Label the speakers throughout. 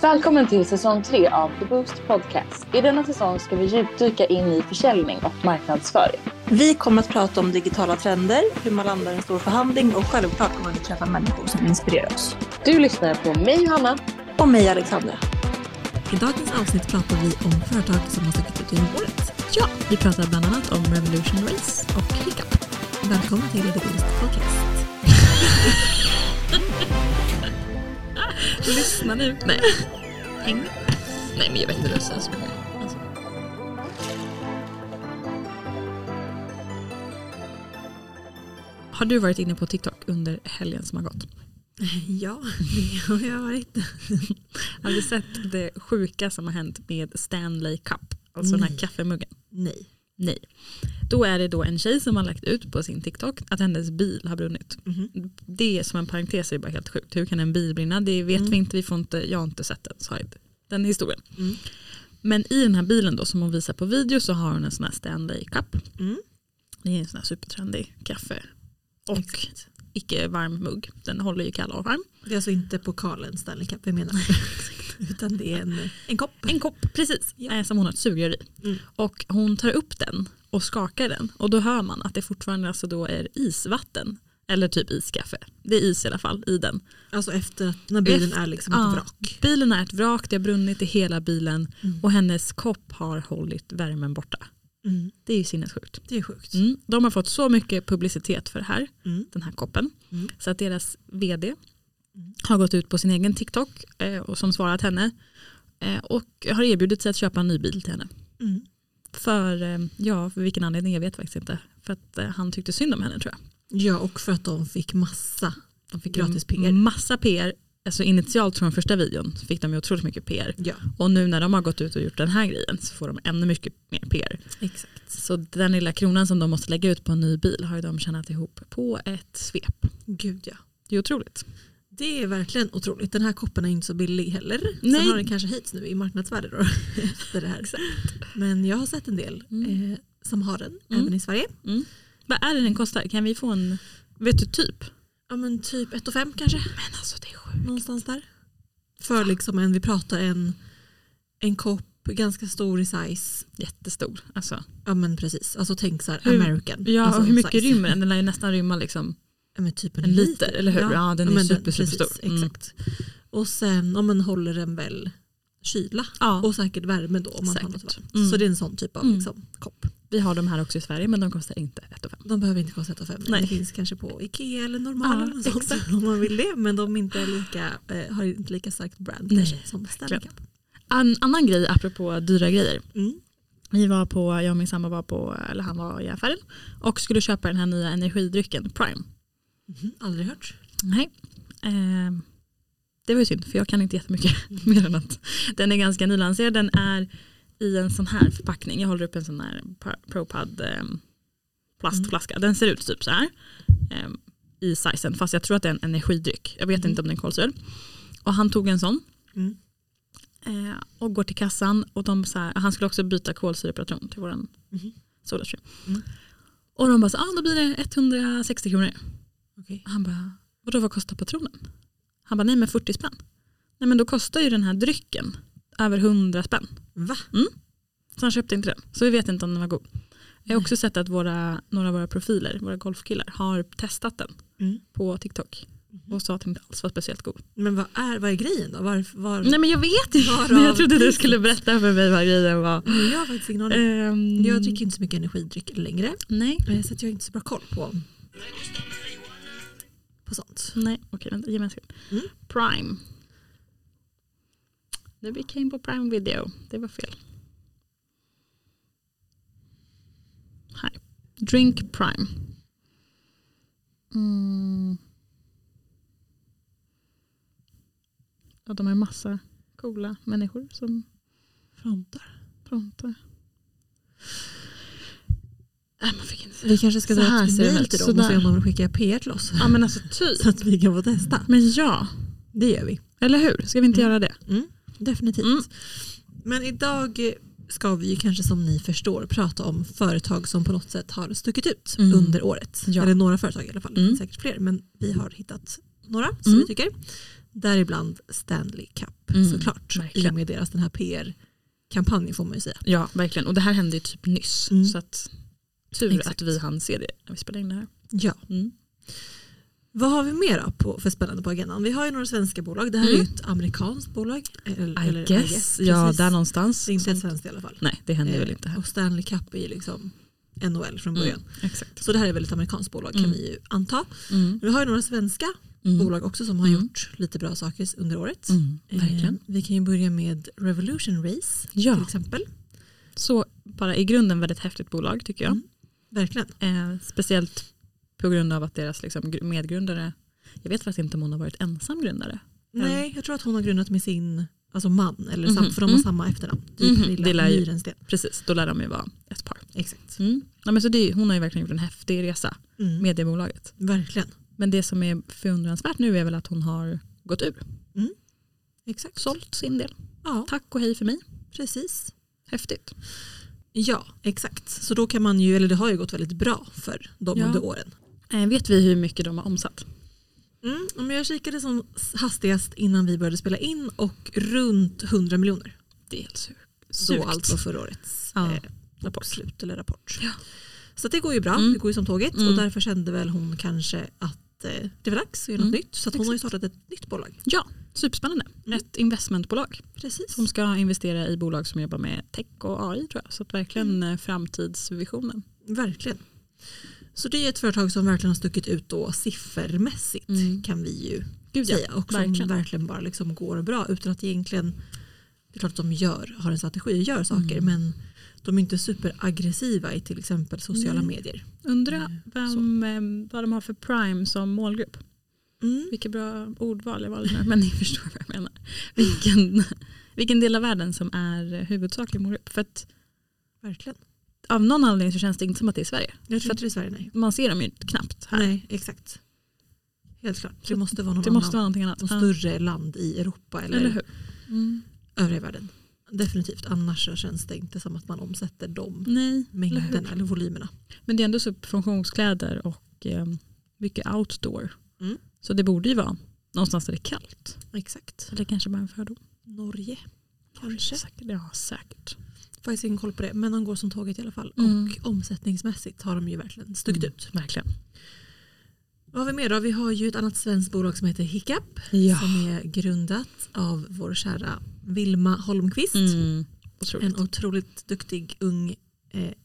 Speaker 1: Välkommen till säsong 3 av The Boost Podcast. I denna säsong ska vi djupdyka in i försäljning och marknadsföring.
Speaker 2: Vi kommer att prata om digitala trender, hur man landar en stor förhandling och självklart kommer vi träffa människor som inspirerar oss.
Speaker 1: Du lyssnar på mig Johanna.
Speaker 2: Och mig Alexandra.
Speaker 3: I dagens avsnitt pratar vi om företag som har stuckit ut genom året. Ja, vi pratar bland annat om Revolution Race och Hiccup. Välkommen till The Boost Podcast. Lyssna nu. Nej. Häng med. Nej men jag vet inte hur det känns för mig. Alltså. Har du varit inne på TikTok under helgen som har gått?
Speaker 4: Ja, det har jag varit.
Speaker 3: Har du sett det sjuka som har hänt med Stanley Cup? Alltså den här kaffemuggen.
Speaker 4: Nej.
Speaker 3: Nej. Då är det då en tjej som har lagt ut på sin TikTok att hennes bil har brunnit.
Speaker 4: Mhm.
Speaker 3: Det är som en parentes är bara helt sjukt. Hur kan en bil brinna? Det vet vi inte. Vi får inte. Jag har inte sett den, så har jag inte- den historien.
Speaker 4: Mm.
Speaker 3: Men i den här bilen då som hon visar på video så har hon en sån här Stanley Cup.
Speaker 4: Mm.
Speaker 3: Det är en sån här supertrendig kaffe och icke varm mugg. Den håller ju kall och varm.
Speaker 4: Det är alltså inte pokalen Stanley Cup vi menar. Utan det är en, en kopp.
Speaker 3: En kopp, precis,
Speaker 4: Ja.
Speaker 3: eh, som hon har ett sugrör i.
Speaker 4: Mm.
Speaker 3: Och hon tar upp den och skakar den och då hör man att det fortfarande alltså då är isvatten. Eller typ iskaffe. Det är is i alla fall i den.
Speaker 4: Alltså efter att när bilen
Speaker 3: Efter-
Speaker 4: är liksom
Speaker 3: ja.
Speaker 4: ett vrak.
Speaker 3: Bilen är ett vrak, det har brunnit i hela bilen
Speaker 4: Mm.
Speaker 3: och hennes kopp har hållit värmen borta.
Speaker 4: Mm.
Speaker 3: Det är ju sinnessjukt.
Speaker 4: Det är sjukt.
Speaker 3: Mm. De har fått så mycket publicitet för det här,
Speaker 4: Mm.
Speaker 3: den här koppen.
Speaker 4: Mm.
Speaker 3: Så att deras vd har gått ut på sin egen TikTok eh, och som svarat henne. Eh, och har erbjudit sig att köpa en ny bil till henne.
Speaker 4: Mm.
Speaker 3: För, eh, ja, för vilken anledning jag vet faktiskt inte. För att eh, han tyckte synd om henne tror jag.
Speaker 4: Mm. Ja och för att de fick massa. De fick gratis PR.
Speaker 3: Massa PR. Alltså initialt från första videon så fick de ju otroligt mycket PR.
Speaker 4: Ja
Speaker 3: Och nu när de har gått ut och gjort den här grejen så får de ännu mycket mer PR.
Speaker 4: exakt.
Speaker 3: Så den lilla kronan som de måste lägga ut på en ny bil har ju de tjänat ihop på ett svep.
Speaker 4: Gud ja.
Speaker 3: Det är otroligt.
Speaker 4: Det är verkligen otroligt. Den här koppen är inte så billig heller.
Speaker 3: Nej.
Speaker 4: Sen har den kanske höjts nu i marknadsvärde då. efter det här. Men jag har sett en del
Speaker 3: Mm.
Speaker 4: eh, som har den
Speaker 3: Mm.
Speaker 4: även i Sverige.
Speaker 3: Vad är det den kostar? Kan vi få en, vet du typ?
Speaker 4: Ja men typ 1 5 kanske.
Speaker 3: Men alltså det är sjukt.
Speaker 4: Någonstans där. För liksom en, vi pratar en, en kopp, ganska stor i size.
Speaker 3: Jättestor. Alltså.
Speaker 4: Ja men precis, alltså tänk så här
Speaker 3: Hur-
Speaker 4: American.
Speaker 3: Ja,
Speaker 4: alltså
Speaker 3: och hur
Speaker 4: en
Speaker 3: mycket
Speaker 4: size.
Speaker 3: rymmer den? Den lär ju nästan rymma liksom
Speaker 4: Ja, men typ en,
Speaker 3: en
Speaker 4: liter.
Speaker 3: liter, eller hur? Ja, den är
Speaker 4: men
Speaker 3: super,
Speaker 4: precis,
Speaker 3: superstor. Mm.
Speaker 4: Exakt. Och sen om man håller den väl kyla
Speaker 3: Ja.
Speaker 4: och säkert värme då om man har något
Speaker 3: Säkert.
Speaker 4: varmt.
Speaker 3: Mm.
Speaker 4: Så det är en sån typ av
Speaker 3: Mm.
Speaker 4: liksom, kopp.
Speaker 3: Vi har de här också i Sverige men de kostar inte 1 5.
Speaker 4: De behöver inte kosta 1 5
Speaker 3: Nej.
Speaker 4: Det finns kanske på Ikea eller Normal
Speaker 3: Ja,
Speaker 4: eller något sånt
Speaker 3: exakt.
Speaker 4: om man vill det. Men de inte är lika, eh, har inte lika starkt brand
Speaker 3: Nej,
Speaker 4: kanske, som Stanley Cup.
Speaker 3: En annan grej apropå dyra grejer.
Speaker 4: Mm.
Speaker 3: Vi var på, jag och min sambo var på, eller han var i affären och skulle köpa den här nya energidrycken Prime.
Speaker 4: Mhm, Aldrig hört.
Speaker 3: Nej. Ehm, det var ju synd för jag kan inte jättemycket mer än att den är ganska nylanserad. Den är i en sån här förpackning. Jag håller upp en sån här pa- ProPad ehm, plastflaska.
Speaker 4: Mm.
Speaker 3: Den ser ut typ så här ehm, i sizen fast jag tror att det är en energidryck. Jag vet
Speaker 4: Mm.
Speaker 3: inte om den är kolsyrad. Och han tog en sån
Speaker 4: Mm.
Speaker 3: eh, och går till kassan och de så här, han skulle också byta kolsyrepatron till våran
Speaker 4: Mhm.
Speaker 3: Sodastream.
Speaker 4: Mm.
Speaker 3: Och de bara så, ah, då blir det 160 kronor.
Speaker 4: Okej.
Speaker 3: Och Han bara, vadå vad kostar patronen? Han bara, nej men 40 spänn. Nej men då kostar ju den här drycken över 100 spänn.
Speaker 4: Va?
Speaker 3: Så han köpte inte den. Så vi vet inte om den var god. Jag har också sett att våra, några av våra profiler, våra golfkillar, har testat den
Speaker 4: Mm.
Speaker 3: på TikTok. Och sa att den inte alls var speciellt god.
Speaker 4: Men vad är, vad är grejen då? Varför, var,
Speaker 3: Nej men jag vet inte.
Speaker 4: Varav-
Speaker 3: Men jag trodde du skulle berätta för mig vad grejen var.
Speaker 4: Nej, Mm, Jag har faktiskt ingen aning.
Speaker 3: Ehm,
Speaker 4: Jag dricker inte så mycket energidryck längre.
Speaker 3: Nej.
Speaker 4: eh, Så att jag har inte så bra koll på, på sånt.
Speaker 3: Nej, okej vänta, ge mig en sekund.
Speaker 4: Mm.
Speaker 3: Prime. Nu vi came på Prime Video, det var fel. Här. Drink Prime. Mm. Ja, de har ju massa coola människor som
Speaker 4: Frontar.
Speaker 3: frontar. Nej, Äh, man fick inte
Speaker 4: Vi kanske ska
Speaker 3: Så här
Speaker 4: dra ett
Speaker 3: ser den
Speaker 4: mejl
Speaker 3: ut,
Speaker 4: till dem och
Speaker 3: sådär.
Speaker 4: se om de vill skicka PR till oss.
Speaker 3: Ja men alltså typ.
Speaker 4: Så att vi kan få testa.
Speaker 3: Men ja,
Speaker 4: Det gör vi.
Speaker 3: eller hur? Ska vi inte
Speaker 4: Mm.
Speaker 3: göra det?
Speaker 4: Mm, definitivt.
Speaker 3: Mm.
Speaker 4: Men idag eh, ska vi ju kanske som ni förstår prata om företag som på något sätt har stuckit ut
Speaker 3: Mm.
Speaker 4: under året.
Speaker 3: Ja.
Speaker 4: Eller några företag i alla fall,
Speaker 3: Mm.
Speaker 4: säkert fler. Men vi har hittat några som
Speaker 3: Mm.
Speaker 4: vi tycker. Däribland Stanley Cup
Speaker 3: Mm,
Speaker 4: såklart. I
Speaker 3: verkligen.
Speaker 4: och med deras den här PR-kampanjen får man ju säga.
Speaker 3: Ja, verkligen. Och det här hände ju typ nyss.
Speaker 4: Mm.
Speaker 3: Så att, tur
Speaker 4: Exakt.
Speaker 3: att vi hann se det när vi spelade in det här.
Speaker 4: Ja.
Speaker 3: Mm.
Speaker 4: Vad har vi mer då på, för spännande på agendan? Vi har ju några svenska bolag. Det här är ju
Speaker 3: Mm.
Speaker 4: ett amerikanskt bolag. Eller,
Speaker 3: I
Speaker 4: eller
Speaker 3: guess. ja,
Speaker 4: precis.
Speaker 3: där någonstans.
Speaker 4: Det är inte ett
Speaker 3: Sånt.
Speaker 4: svenskt i alla fall.
Speaker 3: Nej, det händer
Speaker 4: Eh,
Speaker 3: väl inte här.
Speaker 4: Och Stanley Cup är ju liksom NHL från början.
Speaker 3: Mm, exakt.
Speaker 4: Så det här är väl ett amerikanskt bolag kan
Speaker 3: Mm.
Speaker 4: vi ju anta.
Speaker 3: Mm.
Speaker 4: Vi har ju några svenska
Speaker 3: Mm.
Speaker 4: bolag också som har
Speaker 3: Mm.
Speaker 4: gjort lite bra saker under året.
Speaker 3: Mm,
Speaker 4: Eh,
Speaker 3: verkligen.
Speaker 4: Vi kan ju börja med Revolution Race till
Speaker 3: Ja,
Speaker 4: exempel.
Speaker 3: så bara i grunden väldigt häftigt bolag tycker jag.
Speaker 4: Verkligen.
Speaker 3: Eh, speciellt på grund av att deras liksom, gr- medgrundare, jag vet faktiskt inte om hon har varit ensam grundare.
Speaker 4: Nej, jag tror att hon har grundat med sin alltså man, eller
Speaker 3: Mhm,
Speaker 4: sam, för de har
Speaker 3: mm.
Speaker 4: samma efternamn. Det
Speaker 3: Mhm,
Speaker 4: är
Speaker 3: det
Speaker 4: Pernilla
Speaker 3: lär ju-
Speaker 4: Nyrensten.
Speaker 3: Precis, då lär de ju vara ett par.
Speaker 4: Exakt.
Speaker 3: Mm. Ja, men så det, är ju- hon har ju verkligen gjort en häftig resa,
Speaker 4: Mm.
Speaker 3: mediebolaget.
Speaker 4: Verkligen.
Speaker 3: Men det som är förundransvärt nu är väl att hon har gått ur,
Speaker 4: Exakt.
Speaker 3: sålt sin del.
Speaker 4: Ja,
Speaker 3: Tack och hej för mig,
Speaker 4: precis.
Speaker 3: häftigt.
Speaker 4: Ja, exakt. Så då kan man ju, eller det har ju gått väldigt bra för dem
Speaker 3: Ja.
Speaker 4: under åren.
Speaker 3: Eh, vet vi hur mycket de har omsatt?
Speaker 4: Mm, men jag kikade som hastigast innan vi började spela in och runt 100 miljoner.
Speaker 3: Det är helt sur.
Speaker 4: Så
Speaker 3: Sjukt.
Speaker 4: alltså förra årets
Speaker 3: Ja,
Speaker 4: eh,
Speaker 3: rapport.
Speaker 4: bokslut eller rapport.
Speaker 3: Ja.
Speaker 4: Så att det går ju bra,
Speaker 3: Mm.
Speaker 4: det går ju som tåget
Speaker 3: Mm.
Speaker 4: och därför kände väl hon kanske att eh, det var dags att göra något
Speaker 3: Mm.
Speaker 4: nytt. Så att hon har ju startat ett nytt bolag.
Speaker 3: Ja, superspännande.
Speaker 4: Mm.
Speaker 3: Ett investmentbolag
Speaker 4: Precis.
Speaker 3: som ska investera i bolag som jobbar med tech och AI tror jag. Så att verkligen
Speaker 4: Mm.
Speaker 3: eh, framtidsvisionen.
Speaker 4: Verkligen. Så det är ett företag som verkligen har stuckit ut då siffermässigt
Speaker 3: Mm.
Speaker 4: kan vi ju
Speaker 3: Gud ja.
Speaker 4: säga. Och som verkligen,
Speaker 3: verkligen.
Speaker 4: bara liksom går bra utan att egentligen, det är klart att de gör, har en strategi och gör saker
Speaker 3: Mm.
Speaker 4: men de är inte superaggressiva i till exempel sociala
Speaker 3: Nej.
Speaker 4: medier.
Speaker 3: Undra
Speaker 4: Mm,
Speaker 3: vem, eh, vad de har för prime som målgrupp.
Speaker 4: Mm.
Speaker 3: Vilket bra ordval jag valde nu, men ni förstår vad jag menar. Vilken, vilken del av världen som är huvudsaklig målgrupp. För att
Speaker 4: Verkligen.
Speaker 3: av någon anledning så känns det inte som att det är i Sverige.
Speaker 4: Jag
Speaker 3: För
Speaker 4: tror
Speaker 3: att-
Speaker 4: inte det är i Sverige, nej.
Speaker 3: Man ser dem ju knappt här.
Speaker 4: Nej, exakt. Helt klart. Det
Speaker 3: Så
Speaker 4: måste vara någon
Speaker 3: det
Speaker 4: annan,
Speaker 3: måste vara någonting annat.
Speaker 4: något
Speaker 3: Ja,
Speaker 4: större land i Europa eller,
Speaker 3: Eller hur? Mm.
Speaker 4: övriga världen. Definitivt, annars så känns det inte som att man omsätter de
Speaker 3: Nej,
Speaker 4: mängderna eller, volymerna.
Speaker 3: Men det är ändå så funktionskläder och eh, mycket outdoor.
Speaker 4: Mm.
Speaker 3: Så det borde ju vara någonstans där det är kallt.
Speaker 4: Exakt.
Speaker 3: Så det kanske bara är en fördom.
Speaker 4: Norge kanske.
Speaker 3: Säkert, ja, säkert.
Speaker 4: Faktiskt ingen koll på det, men de går som tåget i alla fall.
Speaker 3: Mm.
Speaker 4: Och omsättningsmässigt har de ju verkligen stuckit
Speaker 3: Mm,
Speaker 4: ut.
Speaker 3: Verkligen.
Speaker 4: Vad har vi mer då? Vi har ju ett annat svenskt bolag som heter Hiccup
Speaker 3: Ja.
Speaker 4: som är grundat av vår kära Vilma Holmqvist.
Speaker 3: Mm. Otroligt.
Speaker 4: En otroligt duktig ung eh, entreprenör.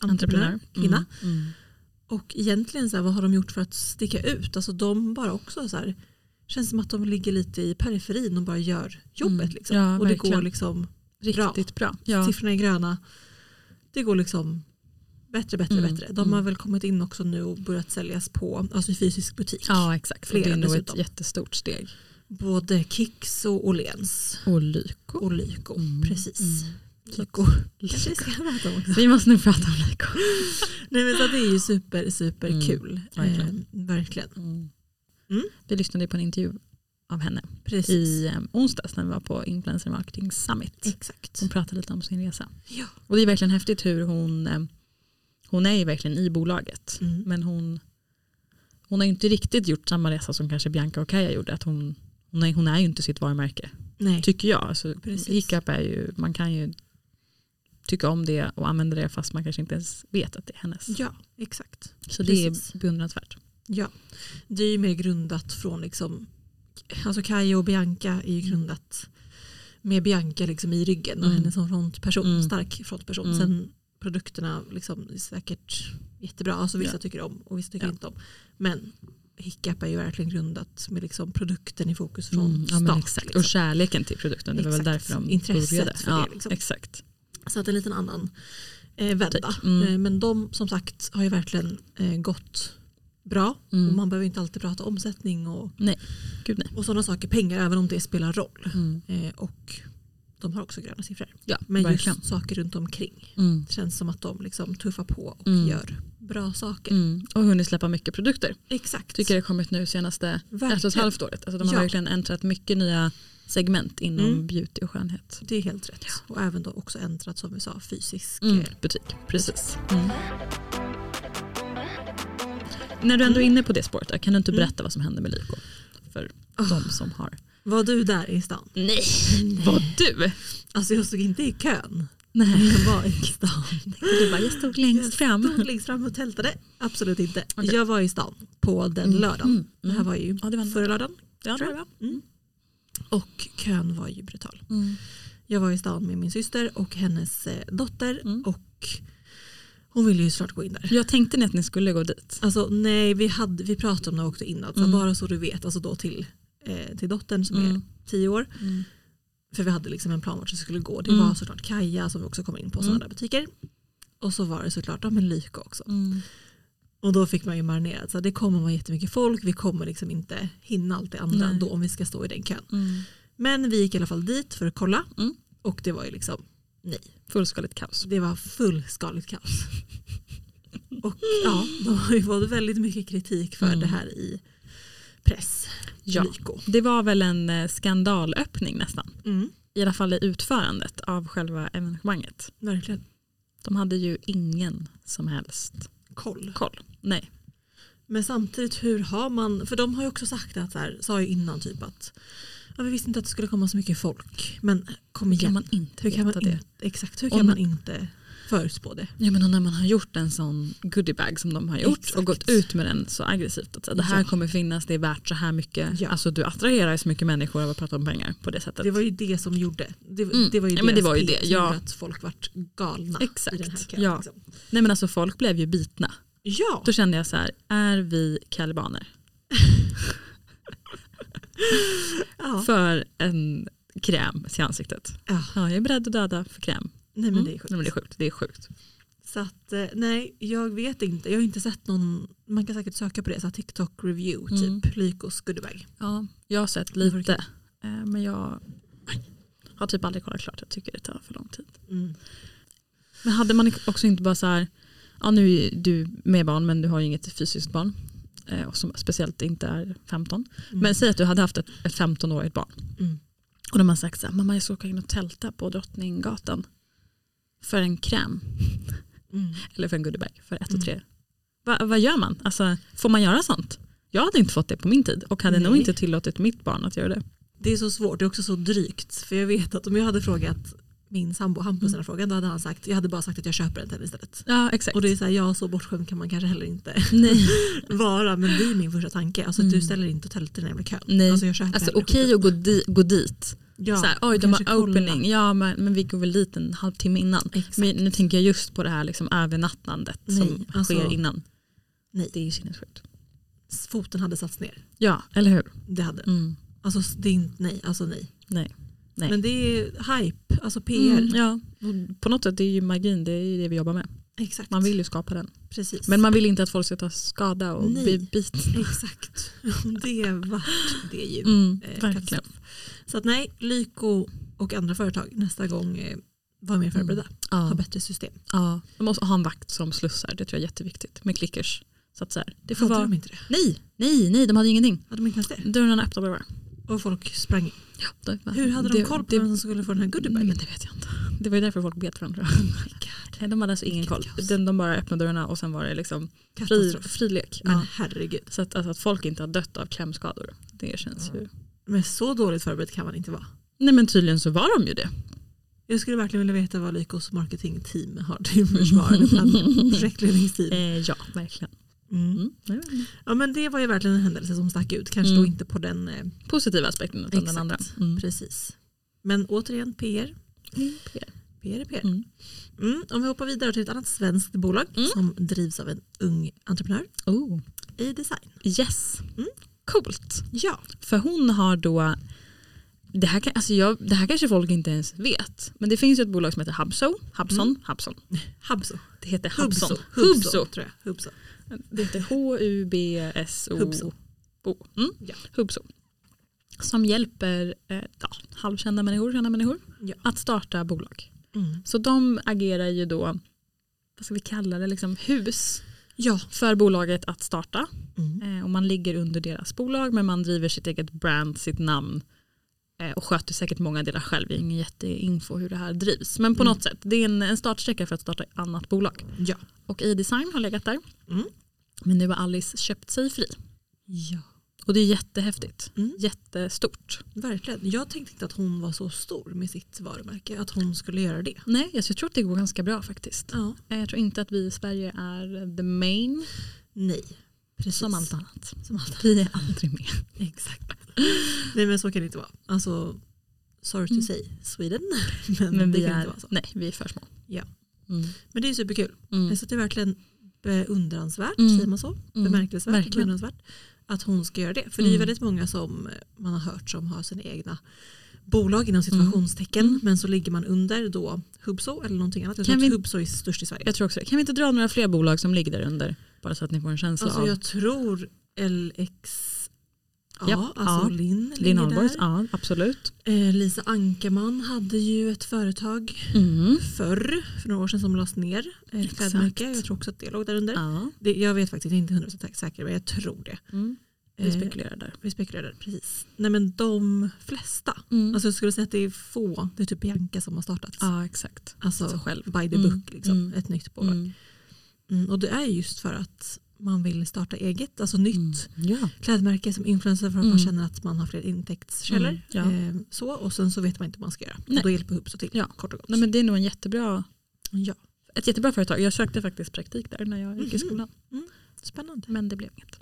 Speaker 3: entreprenör.
Speaker 4: kvinna.
Speaker 3: Mm. Mm.
Speaker 4: Och egentligen, så här, vad har de gjort för att sticka ut? Alltså de bara också så här, känns som att de ligger lite i periferin och bara gör jobbet.
Speaker 3: Mm.
Speaker 4: Liksom.
Speaker 3: Ja,
Speaker 4: och det
Speaker 3: verkligen.
Speaker 4: går liksom,
Speaker 3: Riktigt bra. Ja.
Speaker 4: siffrorna är gröna. Det går liksom bättre, bättre,
Speaker 3: Mm.
Speaker 4: bättre. De
Speaker 3: Mm.
Speaker 4: har väl kommit in också nu och börjat säljas på alltså i fysisk butik.
Speaker 3: ja, exakt. Och det
Speaker 4: Flera
Speaker 3: är nog ett
Speaker 4: dessutom.
Speaker 3: jättestort steg.
Speaker 4: Både Kicks och Åhléns
Speaker 3: Och Lyko.
Speaker 4: och Lyko.
Speaker 3: Mm.
Speaker 4: Precis.
Speaker 3: Mm.
Speaker 4: Lyko. Kanske vi ska prata om också.
Speaker 3: Vi måste nu prata om Lyko.
Speaker 4: Nej, men så det är ju super, super kul.
Speaker 3: Mm. Verkligen.
Speaker 4: Eh, verkligen. Mm.
Speaker 3: Vi lyssnade på en intervju av henne
Speaker 4: Precis.
Speaker 3: i eh, onsdags när vi var på Influencer Marketing Summit.
Speaker 4: Exakt.
Speaker 3: Hon pratade lite om sin resa.
Speaker 4: Ja.
Speaker 3: Och det är verkligen häftigt hur hon, eh, hon är ju verkligen i bolaget.
Speaker 4: Mm.
Speaker 3: Men hon, hon har ju inte riktigt gjort samma resa som kanske Bianca och Kaja gjorde. Att hon, hon, är, hon är ju inte sitt varumärke,
Speaker 4: Nej.
Speaker 3: tycker jag. Alltså,
Speaker 4: Precis.
Speaker 3: Hiccup är ju, man kan ju tycka om det och använda det fast man kanske inte ens vet att det är hennes.
Speaker 4: Ja, exakt.
Speaker 3: Så
Speaker 4: precis.
Speaker 3: det är beundransvärt.
Speaker 4: Ja. Det är ju mer grundat från liksom, alltså Kaja och Bianca är ju grundat med Bianca liksom i ryggen och
Speaker 3: Mm.
Speaker 4: henne som frontperson,
Speaker 3: Mm.
Speaker 4: stark frontperson.
Speaker 3: Mm.
Speaker 4: Sen produkterna liksom är säkert jättebra, alltså vissa
Speaker 3: Ja.
Speaker 4: tycker om och vissa tycker
Speaker 3: Ja.
Speaker 4: inte om. Men Hiccup är ju verkligen grundat med liksom produkten i fokus från
Speaker 3: Mm, ja, men
Speaker 4: start.
Speaker 3: exakt.
Speaker 4: Liksom.
Speaker 3: Och kärleken till produkten, det var väl
Speaker 4: Exakt.
Speaker 3: därför de
Speaker 4: Intresset
Speaker 3: började.
Speaker 4: för det,
Speaker 3: ja,
Speaker 4: liksom.
Speaker 3: Exakt.
Speaker 4: Så att en liten annan eh, vända.
Speaker 3: Typ. Mm.
Speaker 4: Eh, men de som sagt har ju verkligen eh, gått bra och
Speaker 3: Mm.
Speaker 4: man behöver inte alltid prata omsättning och
Speaker 3: Gud nej.
Speaker 4: Och sådana saker, pengar, även om det spelar roll.
Speaker 3: Mm.
Speaker 4: Eh, och de har också gröna siffror.
Speaker 3: Ja,
Speaker 4: Men
Speaker 3: verkligen.
Speaker 4: just saker runt omkring.
Speaker 3: Mm.
Speaker 4: Det känns som att de liksom tuffar på och
Speaker 3: Mm.
Speaker 4: gör bra saker.
Speaker 3: Mm. Och hunnit släppa mycket produkter.
Speaker 4: Exakt.
Speaker 3: Tycker det har kommit nu senaste ett och ett
Speaker 4: Verkligen.
Speaker 3: halvt året. Alltså de har
Speaker 4: Ja.
Speaker 3: verkligen äntrat mycket nya segment inom
Speaker 4: Mm.
Speaker 3: beauty och skönhet.
Speaker 4: Det är helt rätt. Och även då också ändrat som vi sa fysisk.
Speaker 3: Mm.
Speaker 4: eh,
Speaker 3: Butik, precis. Mm. När du ändå är inne på det spåret, kan du inte
Speaker 4: Mm.
Speaker 3: berätta vad som hände med Lyko? För
Speaker 4: Ah.
Speaker 3: de som har
Speaker 4: Var du där i stan?
Speaker 3: Nej, vad du?
Speaker 4: Alltså jag stod inte i kön.
Speaker 3: Nej.
Speaker 4: Jag var i stan.
Speaker 3: Du bara, jag stod längst fram.
Speaker 4: Stod längst fram och tältade. Absolut inte.
Speaker 3: Okej.
Speaker 4: Jag var i stan på den lördagen.
Speaker 3: Mm,
Speaker 4: Det här var ju
Speaker 3: Ja, det var en-
Speaker 4: förra lördagen.
Speaker 3: Ja, det
Speaker 4: tror
Speaker 3: var
Speaker 4: jag. Mm.
Speaker 3: bra.
Speaker 4: Och kön var ju brutal.
Speaker 3: Mm.
Speaker 4: Jag var i stan med min syster och hennes eh, dotter.
Speaker 3: Mm.
Speaker 4: Och hon ville ju såklart gå in där.
Speaker 3: Jag tänkte ni att ni skulle gå dit.
Speaker 4: Alltså nej, vi, hade, vi pratade om det också innan. Så
Speaker 3: Mm.
Speaker 4: Bara så du vet, alltså då till, eh, till dottern som är
Speaker 3: Mm.
Speaker 4: tio år.
Speaker 3: Mm.
Speaker 4: För vi hade liksom en plan vart vi skulle gå. Det
Speaker 3: Mm.
Speaker 4: var såklart Kaja som vi också kom in på,
Speaker 3: Mm.
Speaker 4: sådana där butiker. Och så var det såklart ja, men Lyko också.
Speaker 3: Mm.
Speaker 4: Och då fick man ju marinerat. Så här, det kommer vara jättemycket folk, vi kommer liksom inte hinna allt det andra
Speaker 3: Nej.
Speaker 4: då om vi ska stå i den kön. Men vi gick i alla fall dit för att kolla
Speaker 3: Mm.
Speaker 4: och det var ju liksom,
Speaker 3: Fullskaligt kaos.
Speaker 4: det var fullskaligt kaos. och ja, de har ju fått väldigt mycket kritik för
Speaker 3: Mm.
Speaker 4: det här i press,
Speaker 3: Ja.
Speaker 4: Lyko.
Speaker 3: Det var väl en eh, skandalöppning nästan.
Speaker 4: Mm,
Speaker 3: I alla fall i utförandet av själva evenemanget.
Speaker 4: verkligen
Speaker 3: De hade ju ingen som helst
Speaker 4: koll.
Speaker 3: koll. Nej.
Speaker 4: Men samtidigt hur har man, för de har ju också sagt att så här, sa ju innan typ att ja, vi visste inte att det skulle komma så mycket folk. Men kom
Speaker 3: Hur kan
Speaker 4: igen,
Speaker 3: man inte
Speaker 4: hur kan man
Speaker 3: veta det?
Speaker 4: inte, exakt, hur
Speaker 3: Om
Speaker 4: kan man
Speaker 3: man-
Speaker 4: inte förutspå det?
Speaker 3: Ja, men och när man har gjort en sån goodiebag som de har gjort
Speaker 4: Exakt.
Speaker 3: och gått ut med den så aggressivt. Att säga, det här
Speaker 4: Ja.
Speaker 3: kommer finnas, det är värt så här mycket.
Speaker 4: Ja.
Speaker 3: Alltså du attraherar ju så mycket människor av att prata om pengar på det sättet.
Speaker 4: Det var ju det som gjorde, det,
Speaker 3: Mm.
Speaker 4: det var ju
Speaker 3: Ja, men det
Speaker 4: deras
Speaker 3: var ju
Speaker 4: pet
Speaker 3: det,
Speaker 4: som
Speaker 3: ja.
Speaker 4: gjorde att folk vart galna i den här
Speaker 3: Exakt,
Speaker 4: kön.
Speaker 3: ja.
Speaker 4: Liksom.
Speaker 3: Nej men alltså folk blev ju bitna.
Speaker 4: ja.
Speaker 3: Då kände jag så här, är vi kalibaner?
Speaker 4: ja.
Speaker 3: För en kräm i ansiktet.
Speaker 4: ja.
Speaker 3: Ja, jag är beredd att döda för kräm. Mm.
Speaker 4: Nej men det är
Speaker 3: Nej, men
Speaker 4: sjukt.
Speaker 3: det är sjukt. Det är sjukt.
Speaker 4: Så att, eh, nej jag vet inte, jag har inte sett någon, man kan säkert söka på det, så här, TikTok review
Speaker 3: Mm.
Speaker 4: typ, Lykos goodiebag.
Speaker 3: Ja, jag har sett lite eh, men jag har typ aldrig kollat klart. Jag tycker det tar för lång tid.
Speaker 4: Mm.
Speaker 3: Men hade man också inte bara så här, ja nu är du med barn men du har ju inget fysiskt barn. eh, Och som speciellt inte är 15.
Speaker 4: Mm.
Speaker 3: Men säg att du hade haft ett, ett 15-årigt barn.
Speaker 4: Mm.
Speaker 3: Och de har sagt så här, mamma jag ska åka in och tälta på Drottninggatan. För en kräm.
Speaker 4: Mm.
Speaker 3: Eller för en goodiebag. För ett och tre. Va, vad gör man? Alltså, får man göra sånt? Jag hade inte fått det på min tid. Och hade nog
Speaker 4: Nej.
Speaker 3: inte tillåtit mitt barn att göra det.
Speaker 4: Det är så svårt, det är också så drygt. För jag vet att om jag hade frågat min sambo Hampus den här frågan då hade han sagt, jag hade bara sagt att jag köper en till henne istället.
Speaker 3: Ja Mm. exakt.
Speaker 4: Och det är så här, ja så bortskämd kan man kanske heller inte
Speaker 3: Nej.
Speaker 4: vara. Men det är min första tanke. Alltså
Speaker 3: Mm.
Speaker 4: du ställer inte och tältar i den jävla kön.
Speaker 3: Nej.
Speaker 4: Alltså jag köper
Speaker 3: Alltså
Speaker 4: hellre
Speaker 3: okej
Speaker 4: skiten.
Speaker 3: att gå, di- gå dit.
Speaker 4: ja,
Speaker 3: så här, oj
Speaker 4: och
Speaker 3: de
Speaker 4: kanske
Speaker 3: har
Speaker 4: kolla.
Speaker 3: opening, ja men, men vi går väl dit en halvtimme innan.
Speaker 4: Exakt.
Speaker 3: Men nu tänker jag just på det här liksom övernattnandet som
Speaker 4: Nej, alltså-
Speaker 3: sker innan.
Speaker 4: Nej.
Speaker 3: Det är ju sinnessjukt.
Speaker 4: Foten hade satts ner.
Speaker 3: Ja, eller hur?
Speaker 4: Det hade den.
Speaker 3: Mm.
Speaker 4: Alltså det är inte, nej, alltså nej.
Speaker 3: Nej. Nej.
Speaker 4: Men det är hype, alltså PR.
Speaker 3: Mm, ja. Och På något sätt det är ju magin, det är ju det vi jobbar med.
Speaker 4: Exakt.
Speaker 3: Man vill ju skapa den.
Speaker 4: Precis.
Speaker 3: Men man vill inte att folk ska ta skada och
Speaker 4: Nej.
Speaker 3: bli bitna.
Speaker 4: Exakt. Det vart det ju.
Speaker 3: Mm,
Speaker 4: Eh,
Speaker 3: verkligen.
Speaker 4: katastrof. Så att nej, Lyko och andra företag nästa gång eh, var mer förberedda. Ha
Speaker 3: Mm, Ja.
Speaker 4: bättre system.
Speaker 3: Ja. Man måste ha en vakt som slussar, det tror jag är jätteviktigt. Med clickers. Så att så här, det får
Speaker 4: Hade
Speaker 3: vara...
Speaker 4: de inte det?
Speaker 3: Nej, nej, nej, de hade ju ingenting.
Speaker 4: Hade de inte ens det?
Speaker 3: Dörrarna öppnade bara.
Speaker 4: Och folk sprang in.
Speaker 3: Ja, det-
Speaker 4: Hur hade de
Speaker 3: det-
Speaker 4: koll på
Speaker 3: det-
Speaker 4: vem som skulle få den här
Speaker 3: Men
Speaker 4: goodiebagen?
Speaker 3: det vet jag inte. Det var ju därför folk bet varandra. Nej, de hade alltså ingen
Speaker 4: Vilket
Speaker 3: koll.
Speaker 4: kaos.
Speaker 3: De, de bara öppnade dörrarna och sen var det liksom fri,
Speaker 4: Katastrof.
Speaker 3: fri lek.
Speaker 4: Men
Speaker 3: Ja.
Speaker 4: herregud.
Speaker 3: Så att, alltså, att folk inte har dött av klämskador. Det känns ju...
Speaker 4: Men så dåligt förberedd kan man inte vara.
Speaker 3: Nej men tydligen så var de ju det.
Speaker 4: Jag skulle verkligen vilja veta vad Lykos marketingteam har till försvar. eller bland Projektledningsteam.
Speaker 3: Eh, ja, verkligen.
Speaker 4: Mm.
Speaker 3: Mm. Nej, men-
Speaker 4: Ja, men det var ju verkligen en händelse som stack ut. Kanske
Speaker 3: Mm.
Speaker 4: då inte på den. Eh,
Speaker 3: Positiva aspekten utan den
Speaker 4: Exakt.
Speaker 3: andra. Mm.
Speaker 4: precis. Men återigen PR. PR är PR.
Speaker 3: Mm.
Speaker 4: Mm. Om vi hoppar vidare till ett annat svenskt bolag
Speaker 3: Mm.
Speaker 4: som drivs av en ung entreprenör
Speaker 3: Oh.
Speaker 4: i design.
Speaker 3: Yes.
Speaker 4: Mm.
Speaker 3: Coolt.
Speaker 4: Ja.
Speaker 3: För hon har då... Det här, kan- alltså jag, det här kanske folk inte ens vet. Men det finns ju ett bolag som heter Hubso. Hubson. Hubson.
Speaker 4: Hubso.
Speaker 3: Det heter Hubson.
Speaker 4: Hubso.
Speaker 3: Hubso.
Speaker 4: tror jag. Hubso.
Speaker 3: Det heter H-U-B-S-O.
Speaker 4: Hubso.
Speaker 3: O. Mm.
Speaker 4: Ja.
Speaker 3: Hubso. Som hjälper eh, ja, halvkända människor, kända människor
Speaker 4: Ja.
Speaker 3: att starta bolag.
Speaker 4: Mm.
Speaker 3: Så de agerar ju då, vad ska vi kalla det, liksom hus
Speaker 4: Ja.
Speaker 3: för bolaget att starta.
Speaker 4: Mm.
Speaker 3: Eh, och man ligger under deras bolag men man driver sitt eget brand, sitt namn eh, och sköter säkert många delar själv. Jag har ingen jätteinfo hur det här drivs. Men på
Speaker 4: Mm.
Speaker 3: något sätt, det är en, en startsträcka för att starta ett annat bolag.
Speaker 4: Ja.
Speaker 3: Och e-design har legat där.
Speaker 4: Mm.
Speaker 3: Men nu har Alice köpt sig fri.
Speaker 4: ja.
Speaker 3: Och det är jättehäftigt.
Speaker 4: Mm.
Speaker 3: Jättestort.
Speaker 4: Verkligen. Jag tänkte inte att hon var så stor med sitt varumärke. Att hon skulle göra det.
Speaker 3: Nej, jag tror att det går ganska bra faktiskt.
Speaker 4: Ja.
Speaker 3: Jag tror inte att vi i Sverige är the main
Speaker 4: Nej. Precis.
Speaker 3: som allt annat.
Speaker 4: Som allt.
Speaker 3: Vi är aldrig med.
Speaker 4: Exakt. Nej men så kan det inte vara. Alltså, sorry to
Speaker 3: Mm.
Speaker 4: say Sweden. Men,
Speaker 3: Men
Speaker 4: det
Speaker 3: vi
Speaker 4: kan inte
Speaker 3: är,
Speaker 4: vara så.
Speaker 3: nej, vi är för små.
Speaker 4: Ja.
Speaker 3: Mm.
Speaker 4: Men det är superkul.
Speaker 3: Mm.
Speaker 4: Så det är verkligen beundransvärt,
Speaker 3: Mm.
Speaker 4: säger man så?
Speaker 3: Mm.
Speaker 4: Bemärkelsvärt,
Speaker 3: Verkligen.
Speaker 4: beundransvärt. Att hon ska göra det. För det är ju
Speaker 3: Mm.
Speaker 4: väldigt många som man har hört som har sina egna bolag inom
Speaker 3: Mm.
Speaker 4: situationstecken.
Speaker 3: Mm.
Speaker 4: Men så ligger man under då Hubso eller någonting annat. Jag
Speaker 3: Kan
Speaker 4: tror att
Speaker 3: vi-
Speaker 4: Hubso är störst i Sverige.
Speaker 3: Jag tror också det. Kan vi inte dra några fler bolag som ligger där under? Bara så att ni får en känsla
Speaker 4: Alltså
Speaker 3: av.
Speaker 4: jag tror LX Ja,
Speaker 3: Japp,
Speaker 4: alltså
Speaker 3: ja.
Speaker 4: Linn ligger
Speaker 3: Linn Ahlborgs,
Speaker 4: där.
Speaker 3: ja absolut.
Speaker 4: Eh, Lisa Ankerman hade ju ett företag
Speaker 3: Mm.
Speaker 4: förr, för några år sedan, som lades ner. eh, Ett
Speaker 3: Exakt.
Speaker 4: klädmärke. Jag tror också att det låg där under.
Speaker 3: Ja.
Speaker 4: Det, jag vet faktiskt, jag är inte 100% säker, men jag tror det.
Speaker 3: Mm. Vi
Speaker 4: Eh,
Speaker 3: spekulerar där.
Speaker 4: Vi spekulerar, precis. Nej men de flesta.
Speaker 3: Mm.
Speaker 4: Alltså jag skulle säga att det är få, det är typ Bianca som har startat.
Speaker 3: ja exakt.
Speaker 4: alltså
Speaker 3: så själv.
Speaker 4: by the
Speaker 3: Mm,
Speaker 4: book, liksom,
Speaker 3: mm.
Speaker 4: ett nytt bolag. Mm.
Speaker 3: Mm.
Speaker 4: och det är just för att man vill starta eget, alltså nytt
Speaker 3: Mm. Ja.
Speaker 4: klädmärke som influencer för att
Speaker 3: Mm.
Speaker 4: man känner att man har fler intäktskällor.
Speaker 3: Mm, ja.
Speaker 4: Eh, så, och sen så vet man inte vad man ska göra.
Speaker 3: Nej.
Speaker 4: Och då hjälper Hubso till,
Speaker 3: Ja.
Speaker 4: kort och gott.
Speaker 3: Nej, men det är nog en jättebra,
Speaker 4: ja.
Speaker 3: ett jättebra företag. Jag sökte faktiskt praktik där när jag gick i
Speaker 4: Mhm.
Speaker 3: skolan.
Speaker 4: Spännande.
Speaker 3: Men det blev inget.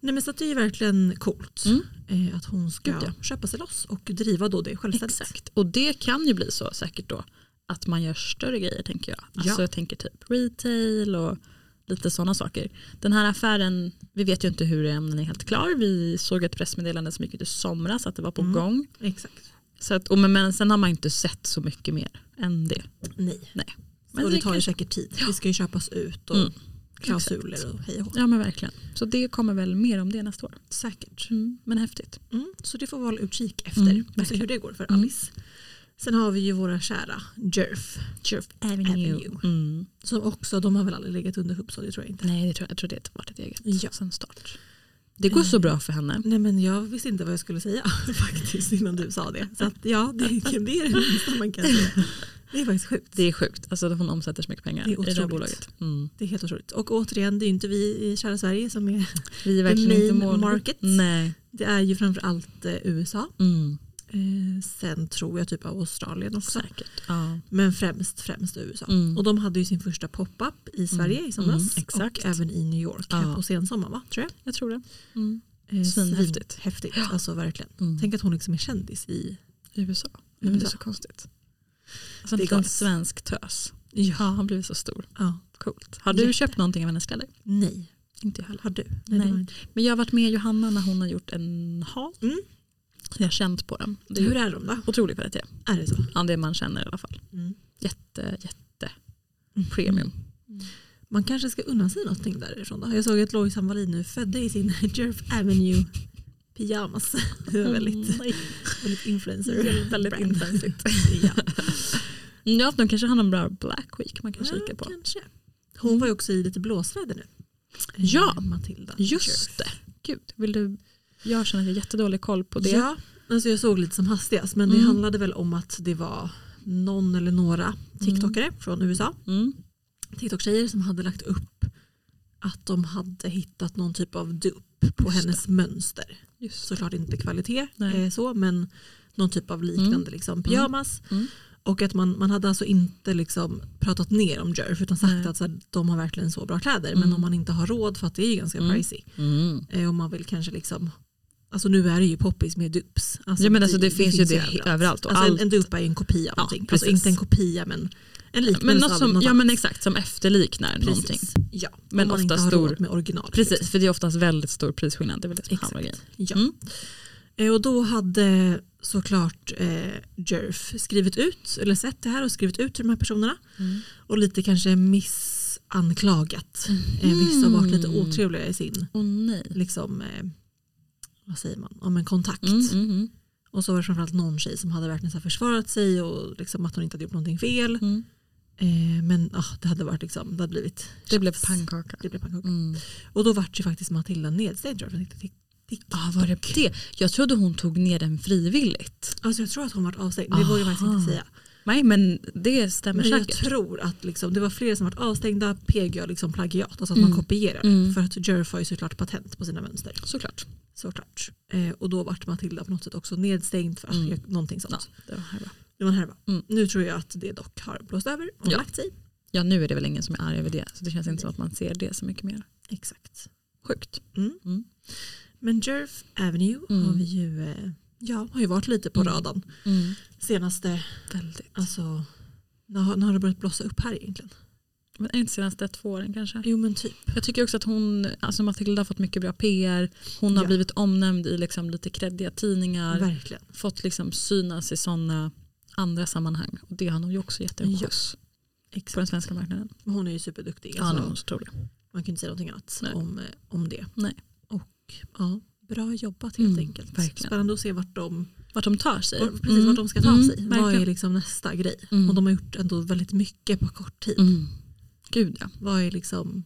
Speaker 4: Nej, men så att det är ju verkligen coolt
Speaker 3: Mm.
Speaker 4: eh, att hon ska
Speaker 3: Gud, ja.
Speaker 4: köpa sig loss och driva då det självständigt.
Speaker 3: Exakt. Och det kan ju bli så säkert då att man gör större grejer tänker jag. Alltså
Speaker 4: Ja.
Speaker 3: jag tänker typ retail och lite sådana saker. Den här affären, vi vet ju inte hur den är helt klar. Vi såg ett pressmeddelande som gick ut i somras att det var på
Speaker 4: Mm.
Speaker 3: gång.
Speaker 4: Exakt.
Speaker 3: Så att, och men, men sen har man inte sett så mycket mer än det.
Speaker 4: Nej.
Speaker 3: Nej.
Speaker 4: och det, tar ju
Speaker 3: kanske-
Speaker 4: säkert tid. Det ska ju köpas ut och
Speaker 3: Mm.
Speaker 4: klausuler
Speaker 3: Exakt.
Speaker 4: och hej och hå.
Speaker 3: Ja men verkligen. Så det kommer väl mer om det nästa år.
Speaker 4: Säkert.
Speaker 3: Mm, men häftigt.
Speaker 4: Mm. Så det får vi hålla utkik efter.
Speaker 3: Mm,
Speaker 4: och se
Speaker 3: verkligen.
Speaker 4: hur det går för
Speaker 3: Mm.
Speaker 4: Alice. Sen har vi ju våra kära Jerf. Jerf Avenue.
Speaker 3: Mm.
Speaker 4: Som också, de har väl aldrig legat under Hubso, det tror jag inte.
Speaker 3: Nej, det tror jag, jag tror det har varit ett eget
Speaker 4: Ja.
Speaker 3: sen start. Eh. Det går så bra för henne.
Speaker 4: Nej men jag visste inte vad jag skulle säga faktiskt innan du sa det. Så att, ja, det, är- det är det minsta man kan säga. Det är faktiskt sjukt.
Speaker 3: Det är sjukt. Alltså hon omsätter så mycket pengar
Speaker 4: Det är
Speaker 3: i det här
Speaker 4: otroligt.
Speaker 3: bolaget. Mm.
Speaker 4: Det är helt otroligt. Och återigen, det är ju inte vi i kära Sverige som är...
Speaker 3: Vi är verkligen
Speaker 4: main
Speaker 3: inte mål.
Speaker 4: market.
Speaker 3: Nej.
Speaker 4: Det är ju framförallt eh, USA.
Speaker 3: Mm.
Speaker 4: Eh, sen tror jag typ av Australien också.
Speaker 3: Säkert. Ja.
Speaker 4: Men främst, främst USA.
Speaker 3: Mm.
Speaker 4: Och de hade ju sin första pop-up i Sverige i
Speaker 3: Mm,
Speaker 4: somras.
Speaker 3: exakt.
Speaker 4: Och även i New York här
Speaker 3: Ja.
Speaker 4: på sensommaren va? Tror jag.
Speaker 3: Jag tror det. Mm.
Speaker 4: Eh,
Speaker 3: Svinhäftigt.
Speaker 4: svin- Häftigt,
Speaker 3: Ja.
Speaker 4: alltså verkligen.
Speaker 3: Mm.
Speaker 4: Tänk att hon liksom är kändis i...
Speaker 3: USA. Nej, men det är
Speaker 4: USA.
Speaker 3: så konstigt. Alltså en
Speaker 4: Det är
Speaker 3: liten
Speaker 4: galet.
Speaker 3: svensk tös. Ja,
Speaker 4: Ja.
Speaker 3: han blev så stor.
Speaker 4: ja.
Speaker 3: Coolt. Har du
Speaker 4: Jätte.
Speaker 3: köpt någonting av hennes kläder?
Speaker 4: Nej,
Speaker 3: Inte jag heller.
Speaker 4: har du?
Speaker 3: Nej.
Speaker 4: det har jag inte.
Speaker 3: Men jag har varit med Johanna när hon har gjort en haul.
Speaker 4: Mm.
Speaker 3: Så jag har känt på dem. Det är
Speaker 4: Hur
Speaker 3: ju
Speaker 4: är de då?
Speaker 3: otrolig kvalitet.
Speaker 4: Är det så?
Speaker 3: Ja, det man känner i alla fall.
Speaker 4: Mm.
Speaker 3: Jätte, jätte premium.
Speaker 4: Man kanske ska unna sig någonting därifrån då. Jag såg att Lojsan Wallin nu födde i sin Jerf Avenue pyjamas. Det var väldigt,
Speaker 3: nej.
Speaker 4: väldigt
Speaker 3: Det
Speaker 4: influencer.
Speaker 3: är väldigt
Speaker 4: brand.
Speaker 3: intensivt.
Speaker 4: Ja,
Speaker 3: Mm, Ja, de kanske har någon bra Black Week man kan kika
Speaker 4: ja,
Speaker 3: på.
Speaker 4: kanske. Hon var ju också i lite blåsväder nu.
Speaker 3: Ja,
Speaker 4: Eh, Matilda.
Speaker 3: Just det. Gud, vill du? Jag känner att jag har jättedålig koll på det.
Speaker 4: Ja, alltså jag såg lite som hastigast men
Speaker 3: Mm.
Speaker 4: det handlade väl om att det var någon eller några TikTokare från USA,
Speaker 3: Mm.
Speaker 4: TikTok-tjejer som hade lagt upp att de hade hittat någon typ av dupp på
Speaker 3: Just
Speaker 4: hennes mönster.
Speaker 3: Just det.
Speaker 4: såklart inte kvalitet
Speaker 3: Nej.
Speaker 4: eh, så men någon typ av liknande
Speaker 3: Mm.
Speaker 4: liksom, pyjamas.
Speaker 3: Mm.
Speaker 4: Och att man, man hade alltså inte liksom pratat ner om Jerf utan sagt
Speaker 3: Nej.
Speaker 4: att så här, de har verkligen så bra kläder
Speaker 3: Mm.
Speaker 4: men om man inte har råd för att det är ju ganska
Speaker 3: Mm.
Speaker 4: pricey.
Speaker 3: Mm.
Speaker 4: Eh, om man vill kanske liksom Alltså nu är det ju poppis med dups.
Speaker 3: Ja, men alltså det finns ju det överallt och
Speaker 4: Alltså en,
Speaker 3: allt.
Speaker 4: en dup är ju en kopia av
Speaker 3: Ja,
Speaker 4: någonting. Alltså
Speaker 3: precis.
Speaker 4: inte en kopia men en liknelse
Speaker 3: Men något
Speaker 4: av
Speaker 3: som, ja
Speaker 4: annat.
Speaker 3: men exakt, som efterliknar någonting.
Speaker 4: Precis. Ja,
Speaker 3: Men
Speaker 4: om man inte
Speaker 3: ofta
Speaker 4: har
Speaker 3: stor-
Speaker 4: råd med original.
Speaker 3: Precis, för det är oftast väldigt stor prisskillnad. Det är väl det som
Speaker 4: Exakt.
Speaker 3: handlar om grejen.
Speaker 4: Ja.
Speaker 3: Mm.
Speaker 4: Eh, Och då hade såklart eh, Jerf skrivit ut, eller sett det här och skrivit ut till de här personerna.
Speaker 3: Mm.
Speaker 4: Och lite kanske missanklagat.
Speaker 3: Mm.
Speaker 4: Eh, vissa har varit lite otrevliga i sin,
Speaker 3: Åh nej.
Speaker 4: liksom, eh, vad säger man, om en kontakt.
Speaker 3: Mm, mm, mm.
Speaker 4: Och så var det framförallt någon tjej som hade verkligen så här försvarat sig och liksom att hon inte hade gjort någonting fel.
Speaker 3: Mm.
Speaker 4: Eh, men ah, det hade varit liksom, det hade blivit
Speaker 3: Det blev
Speaker 4: tjafs.
Speaker 3: pannkaka.
Speaker 4: Det blev pannkaka.
Speaker 3: Mm.
Speaker 4: Och då vart ju faktiskt Matilda nedstängd. tror jag, från TikTok.
Speaker 3: Ah, var det det? Jag trodde hon tog ner den frivilligt.
Speaker 4: Alltså jag tror att hon vart avstängd, det vågar jag faktiskt
Speaker 3: Aha.
Speaker 4: inte säga.
Speaker 3: Nej men det stämmer
Speaker 4: Men jag
Speaker 3: säkert.
Speaker 4: tror att liksom, det var fler som varit avstängda PGA liksom plagiat, alltså att man
Speaker 3: Mm.
Speaker 4: kopierar.
Speaker 3: Mm.
Speaker 4: För att Jerf har ju såklart patent på sina mönster.
Speaker 3: Såklart.
Speaker 4: Såklart. Eh, och då vart Matilda på något sätt också nedstängd för att
Speaker 3: Mm.
Speaker 4: göra någonting
Speaker 3: Ja,
Speaker 4: sånt.
Speaker 3: det var här bra.
Speaker 4: Det var en härva.
Speaker 3: Mm.
Speaker 4: Nu tror jag att det dock har blåst över och
Speaker 3: Ja.
Speaker 4: lagt sig.
Speaker 3: ja nu är det väl ingen som är arg över det så det känns inte som att man ser det så mycket mer.
Speaker 4: Exakt.
Speaker 3: Sjukt.
Speaker 4: Mm.
Speaker 3: Mm.
Speaker 4: Men Jerf Avenue
Speaker 3: Mm.
Speaker 4: har vi ju, eh, ja, har ju varit lite på
Speaker 3: Mm.
Speaker 4: radarn senaste,
Speaker 3: Väldigt.
Speaker 4: alltså, när har, när har det börjat blossa upp här egentligen?
Speaker 3: Men är det inte senaste två åren kanske?
Speaker 4: Jo men typ.
Speaker 3: Jag tycker också att hon, alltså Matilda har fått mycket bra PR. Hon har
Speaker 4: Ja.
Speaker 3: blivit omnämnd i liksom lite kreddiga tidningar.
Speaker 4: Verkligen.
Speaker 3: Fått liksom synas i sådana andra sammanhang. Och det har nog också gett en
Speaker 4: Ja.
Speaker 3: skjuts på den
Speaker 4: Exakt.
Speaker 3: svenska marknaden.
Speaker 4: Men Hon är ju superduktig.
Speaker 3: Ja,
Speaker 4: alltså.
Speaker 3: nog tror jag.
Speaker 4: Man kan inte säga någonting annat
Speaker 3: Nej.
Speaker 4: om, eh, om det.
Speaker 3: Nej.
Speaker 4: Och ja, bra jobbat helt
Speaker 3: Mm,
Speaker 4: enkelt.
Speaker 3: verkligen.
Speaker 4: Spännande att se vart de,
Speaker 3: Vart de tar sig.
Speaker 4: vart, precis vart de ska ta sig. Vad är liksom nästa grej?
Speaker 3: Mm.
Speaker 4: Och de har gjort ändå väldigt mycket på kort tid.
Speaker 3: Mm. Gud ja.
Speaker 4: Vad är liksom,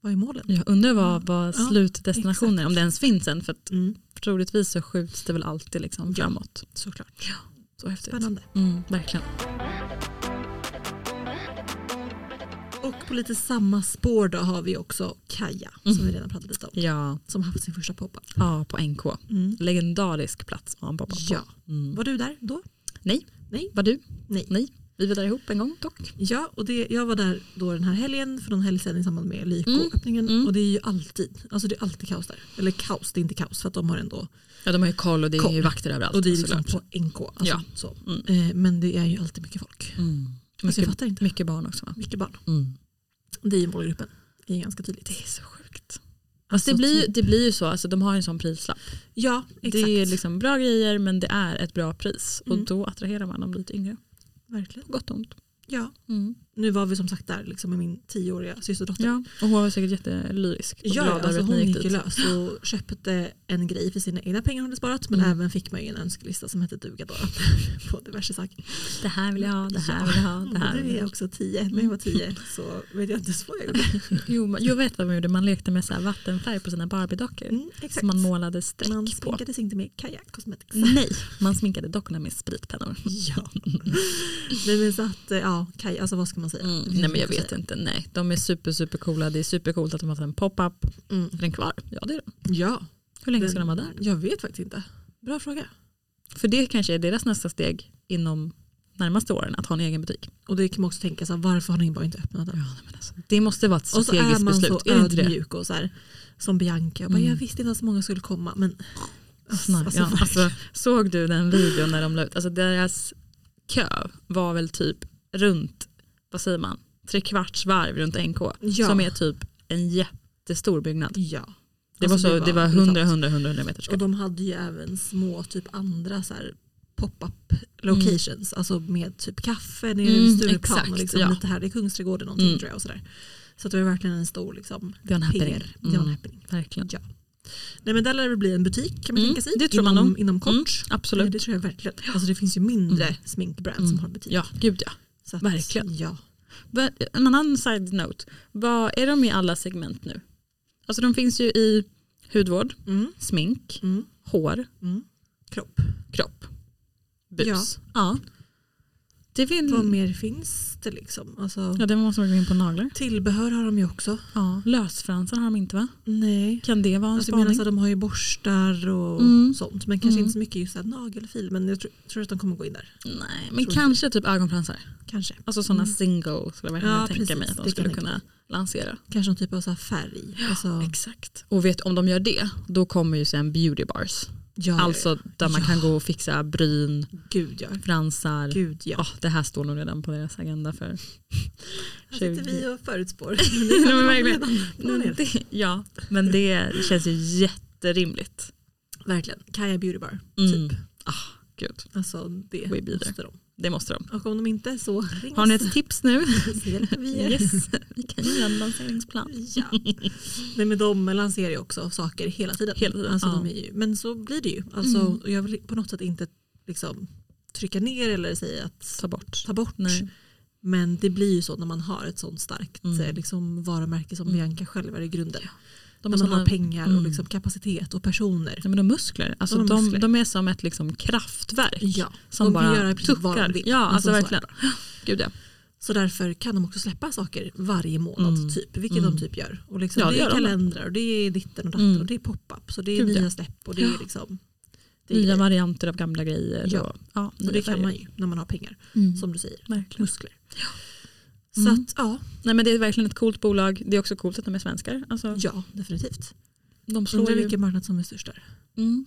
Speaker 4: vad är målen?
Speaker 3: Jag undrar vad, vad
Speaker 4: Mm. Ja,
Speaker 3: slutdestinationen är, om det ens finns en. För att
Speaker 4: Mm,
Speaker 3: troligtvis så skjuts det väl alltid liksom
Speaker 4: Ja.
Speaker 3: framåt.
Speaker 4: såklart.
Speaker 3: Så häftigt.
Speaker 4: Spännande.
Speaker 3: Mm, verkligen.
Speaker 4: Och på lite samma spår då har vi också Kaja som
Speaker 3: Mm.
Speaker 4: vi redan pratat lite om.
Speaker 3: Ja,
Speaker 4: Som haft sin första pop-up.
Speaker 3: ja på NK.
Speaker 4: Mm.
Speaker 3: Legendarisk plats har han poppat på.
Speaker 4: Ja.
Speaker 3: Mm.
Speaker 4: Var du där då?
Speaker 3: Var du?
Speaker 4: Nej.
Speaker 3: Nej. Vi var där ihop en gång dock.
Speaker 4: Ja, och det, jag var där då den här helgen för någon helg sedan i samband med Lyko-öppningen.
Speaker 3: Mm, mm.
Speaker 4: Och det är ju alltid, alltså det är alltid kaos där. Eller kaos, det är inte kaos för att de har ändå,
Speaker 3: Ja de har ju koll och det är
Speaker 4: Koll.
Speaker 3: ju vakter överallt.
Speaker 4: och det är liksom
Speaker 3: såklart.
Speaker 4: på NK. Alltså,
Speaker 3: Ja.
Speaker 4: så.
Speaker 3: Mm.
Speaker 4: Eh, men det är ju alltid mycket folk.
Speaker 3: Mm.
Speaker 4: Alltså, jag
Speaker 3: Mycket,
Speaker 4: fattar inte.
Speaker 3: mycket barn också va?
Speaker 4: Mycket barn.
Speaker 3: Mm.
Speaker 4: Det är ju målgruppen. Det är ju ganska tydligt.
Speaker 3: Det är så sjukt.
Speaker 4: Alltså,
Speaker 3: det, blir, ju-
Speaker 4: typ-
Speaker 3: det blir ju så, alltså, de har ju en sån prislapp.
Speaker 4: Ja, exakt.
Speaker 3: Det är liksom bra grejer men det är ett bra pris.
Speaker 4: Mm.
Speaker 3: Och då attraherar man de lite yngre.
Speaker 4: Verkligen.
Speaker 3: På gott och ont.
Speaker 4: Ja. Nu var vi som sagt där liksom, med min tioåriga systerdotter.
Speaker 3: Mm. Ja, och hon var säkert jättelyrisk. och
Speaker 4: Ja,
Speaker 3: glad
Speaker 4: ja
Speaker 3: över
Speaker 4: alltså
Speaker 3: att
Speaker 4: hon
Speaker 3: ni
Speaker 4: gick ju
Speaker 3: dit.
Speaker 4: lös och köpte en grej för sina egna pengar hon hade sparat men
Speaker 3: Mm.
Speaker 4: även fick man ju en önskelista som hette duga då på diverse saker.
Speaker 3: Det här vill jag ha, det här
Speaker 4: Ja.
Speaker 3: vill jag ha, det
Speaker 4: Ja,
Speaker 3: här
Speaker 4: nu
Speaker 3: vill
Speaker 4: är
Speaker 3: jag
Speaker 4: jag
Speaker 3: ha.
Speaker 4: också tio, när jag var tio så vet jag inte ens vad jag gjorde. Mm,
Speaker 3: Jo, men- jag vet vad man gjorde, man lekte med så här vattenfärg på sina Barbie-dockor.
Speaker 4: Mm,
Speaker 3: Som man målade streck
Speaker 4: man
Speaker 3: på. Mm.
Speaker 4: sminkade sig inte med Kaja Cosmetics.
Speaker 3: Nej, man sminkade dockorna med
Speaker 4: Mm,
Speaker 3: spritpennor.
Speaker 4: Ja. Nej men så att, eh, ja, Kaja, alltså vad ska man säga?
Speaker 3: Mm,
Speaker 4: Det finns
Speaker 3: nej men jag
Speaker 4: mycket att
Speaker 3: vet inte, nej. De är super super coola. det är supercoolt att de har haft en pop-up.
Speaker 4: säga. Mm.
Speaker 3: Är den kvar? Ja det är den.
Speaker 4: Ja,
Speaker 3: Hur länge ska
Speaker 4: Den-
Speaker 3: de vara där?
Speaker 4: jag vet faktiskt inte. Bra fråga.
Speaker 3: För det kanske är deras nästa steg inom närmaste åren, att ha en egen butik.
Speaker 4: Och det kan man också tänka, så här, varför har ni bara inte öppnat den?
Speaker 3: nej, men alltså, det måste vara ett
Speaker 4: Och så är
Speaker 3: strategiskt
Speaker 4: man
Speaker 3: beslut.
Speaker 4: så
Speaker 3: är det inte det?
Speaker 4: ödmjuk och så här, som Bianca. Och bara,
Speaker 3: Mm.
Speaker 4: Jag visste inte att så många skulle komma. Men, alltså,
Speaker 3: Snark, ja, alltså, såg du den videon när de la ut, alltså deras kö var väl typ runt, vad säger man, trekvarts varv runt NK.
Speaker 4: Ja.
Speaker 3: Som är typ en jättestor byggnad.
Speaker 4: ja.
Speaker 3: Det
Speaker 4: Alltså,
Speaker 3: var så, det var
Speaker 4: brutalt.
Speaker 3: 100, 100, 100, 100 meters kö.
Speaker 4: Och de hade ju även små typ andra så här, pop-up locations. Alltså med typ kaffe nere
Speaker 3: Mm,
Speaker 4: vid Stureplan och
Speaker 3: exakt,
Speaker 4: liksom,
Speaker 3: ja.
Speaker 4: lite här i Kungsträdgården någonting
Speaker 3: Mm.
Speaker 4: tror jag. Och så, där. så att det var verkligen en stor liksom,
Speaker 3: Det var en happening.
Speaker 4: PR. Det var en
Speaker 3: Mm.
Speaker 4: happening.
Speaker 3: Verkligen.
Speaker 4: Nej men där lär det bli en butik kan man
Speaker 3: Mm,
Speaker 4: tänka sig.
Speaker 3: det tror man
Speaker 4: inom,
Speaker 3: nog.
Speaker 4: inom kort.
Speaker 3: Mm, absolut.
Speaker 4: Det tror jag verkligen. Alltså det finns ju mindre
Speaker 3: Mm.
Speaker 4: sminkbrand som
Speaker 3: Mm.
Speaker 4: har butik.
Speaker 3: Ja, gud ja.
Speaker 4: Så att,
Speaker 3: verkligen.
Speaker 4: Ja.
Speaker 3: Va- En annan side note, vad är de i alla segment nu? Alltså de finns ju i hudvård,
Speaker 4: Mm,
Speaker 3: smink,
Speaker 4: mm,
Speaker 3: hår,
Speaker 4: mm. Kropp.
Speaker 3: kropp, bus.
Speaker 4: Ja.
Speaker 3: Ja. Det vill...
Speaker 4: Vad mer finns det liksom? Alltså,
Speaker 3: Ja, det måste man gå in på naglar.
Speaker 4: Tillbehör har de ju också.
Speaker 3: Ja, lösfransar har de inte va?
Speaker 4: Nej.
Speaker 3: Kan det vara
Speaker 4: Alltså,
Speaker 3: en
Speaker 4: jag
Speaker 3: spaning?
Speaker 4: menar, så de har ju borstar och
Speaker 3: Mm.
Speaker 4: sånt. Men kanske
Speaker 3: Mm.
Speaker 4: inte så mycket just så här nagelfil. Men jag tror, tror att de kommer gå in där.
Speaker 3: Nej, men
Speaker 4: Tror
Speaker 3: kanske typ ögonfransar.
Speaker 4: Kanske.
Speaker 3: Alltså sådana
Speaker 4: Mm.
Speaker 3: single skulle jag verkligen
Speaker 4: Ja,
Speaker 3: tänka
Speaker 4: precis.
Speaker 3: mig att
Speaker 4: Det
Speaker 3: de
Speaker 4: kan
Speaker 3: skulle
Speaker 4: jag tänka
Speaker 3: kunna lansera.
Speaker 4: Kanske någon typ av så här färg. Alltså,
Speaker 3: Exakt. Och vet om de gör det, då kommer ju sen beauty bars.
Speaker 4: ja,
Speaker 3: Alltså där man
Speaker 4: Ja.
Speaker 3: kan gå och fixa bryn,
Speaker 4: Gud ja.
Speaker 3: fransar.
Speaker 4: Gud ja.
Speaker 3: Ja, det här står nog redan på deras agenda för
Speaker 4: Här sitter
Speaker 3: 20.
Speaker 4: vi och förutspår.
Speaker 3: Nej, men
Speaker 4: kommer
Speaker 3: verkligen. Mm.
Speaker 4: redan
Speaker 3: Men
Speaker 4: planerat.
Speaker 3: det, ja, men det känns ju jätterimligt.
Speaker 4: Verkligen. Kaja Beauty Bar.
Speaker 3: Mm.
Speaker 4: Typ.
Speaker 3: Ah, gud,
Speaker 4: Alltså det
Speaker 3: We be
Speaker 4: måste de.
Speaker 3: det måste de.
Speaker 4: Och om de inte så ring
Speaker 3: Har ni
Speaker 4: oss
Speaker 3: ett tips nu?
Speaker 4: så hjälper vi er.
Speaker 3: Yes, vi kan göra en lanseringsplan.
Speaker 4: Ja. Nej, men de lanserar ju också saker hela tiden.
Speaker 3: Hela tiden,
Speaker 4: Alltså,
Speaker 3: ja.
Speaker 4: de är ju, men så blir det ju. Alltså,
Speaker 3: Mm.
Speaker 4: och Jag vill på något sätt inte liksom, trycka ner eller säga att
Speaker 3: Ta bort.
Speaker 4: ta bort.
Speaker 3: Nej.
Speaker 4: Men det blir ju så när man har ett sånt starkt
Speaker 3: Mm.
Speaker 4: eh, liksom, varumärke som
Speaker 3: Mm.
Speaker 4: Bianca själv är i grunden.
Speaker 3: De
Speaker 4: när
Speaker 3: har,
Speaker 4: man
Speaker 3: såna,
Speaker 4: har pengar och
Speaker 3: mm.
Speaker 4: liksom kapacitet och personer.
Speaker 3: ja, men de har muskler. Alltså,
Speaker 4: De
Speaker 3: de,
Speaker 4: har muskler.
Speaker 3: De, är som ett liksom, kraftverk. Som
Speaker 4: de
Speaker 3: bara
Speaker 4: kan göra precis vad de
Speaker 3: tuckar.
Speaker 4: vill.
Speaker 3: Ja, alltså
Speaker 4: så är det
Speaker 3: verkligen.
Speaker 4: bara.
Speaker 3: Gud ja.
Speaker 4: Så därför kan de också släppa saker varje månad
Speaker 3: Mm.
Speaker 4: typ, vilket
Speaker 3: Mm.
Speaker 4: de typ gör. Och liksom,
Speaker 3: Ja,
Speaker 4: det
Speaker 3: det
Speaker 4: är
Speaker 3: gör de.
Speaker 4: kalendrar och det är ditten och datten
Speaker 3: Mm.
Speaker 4: och det är pop-up och det är
Speaker 3: Gud,
Speaker 4: nya
Speaker 3: ja.
Speaker 4: släpp och det är liksom det är
Speaker 3: Nya
Speaker 4: grejer.
Speaker 3: varianter av gamla grejer.
Speaker 4: Ja.
Speaker 3: Och, ja,
Speaker 4: Så
Speaker 3: nya
Speaker 4: det kan
Speaker 3: färger.
Speaker 4: man ju när man har pengar
Speaker 3: Mm.
Speaker 4: som du säger.
Speaker 3: Verkligen.
Speaker 4: Muskler.
Speaker 3: Mm.
Speaker 4: Så att ja,
Speaker 3: Nej, men det är verkligen ett coolt bolag. Det är också coolt att de är svenskar. Alltså,
Speaker 4: ja definitivt.
Speaker 3: de, slår
Speaker 4: Undrar
Speaker 3: ju,
Speaker 4: vilken marknad som är störst där.
Speaker 3: mm.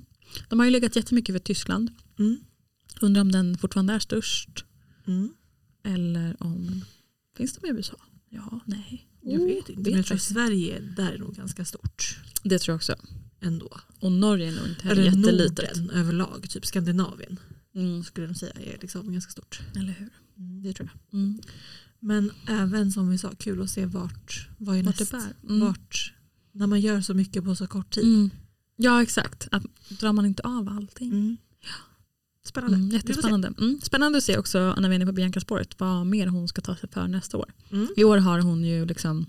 Speaker 3: de har ju legat jättemycket för Tyskland.
Speaker 4: Mm.
Speaker 3: Undrar om den fortfarande är störst.
Speaker 4: Mm.
Speaker 3: Eller om... Finns de i USA? Ja, nej.
Speaker 4: Jag
Speaker 3: Oh,
Speaker 4: vet inte men jag tror
Speaker 3: faktiskt.
Speaker 4: Sverige där är nog ganska stort
Speaker 3: Det tror jag också.
Speaker 4: ändå.
Speaker 3: Och Norge är nog inte heller
Speaker 4: Eller
Speaker 3: jättelitet.
Speaker 4: Norden överlag, typ Skandinavien
Speaker 3: Mm.
Speaker 4: skulle de säga är liksom ganska stort.
Speaker 3: Eller hur?
Speaker 4: Det tror jag.
Speaker 3: Mm.
Speaker 4: Men även som vi sa, kul att se vart, vad är
Speaker 3: Vart
Speaker 4: näst?
Speaker 3: det bär. Mm.
Speaker 4: Vart, när man gör så mycket på så kort tid.
Speaker 3: Mm. Ja, exakt. Att, drar man inte av allting?
Speaker 4: Mm. Spännande.
Speaker 3: Mm,
Speaker 4: Vi får se.
Speaker 3: jättespännande. Mm. Spännande att se också när vi är inne på Bianca-spåret vad mer hon ska ta sig för nästa år.
Speaker 4: Mm.
Speaker 3: I år har hon ju liksom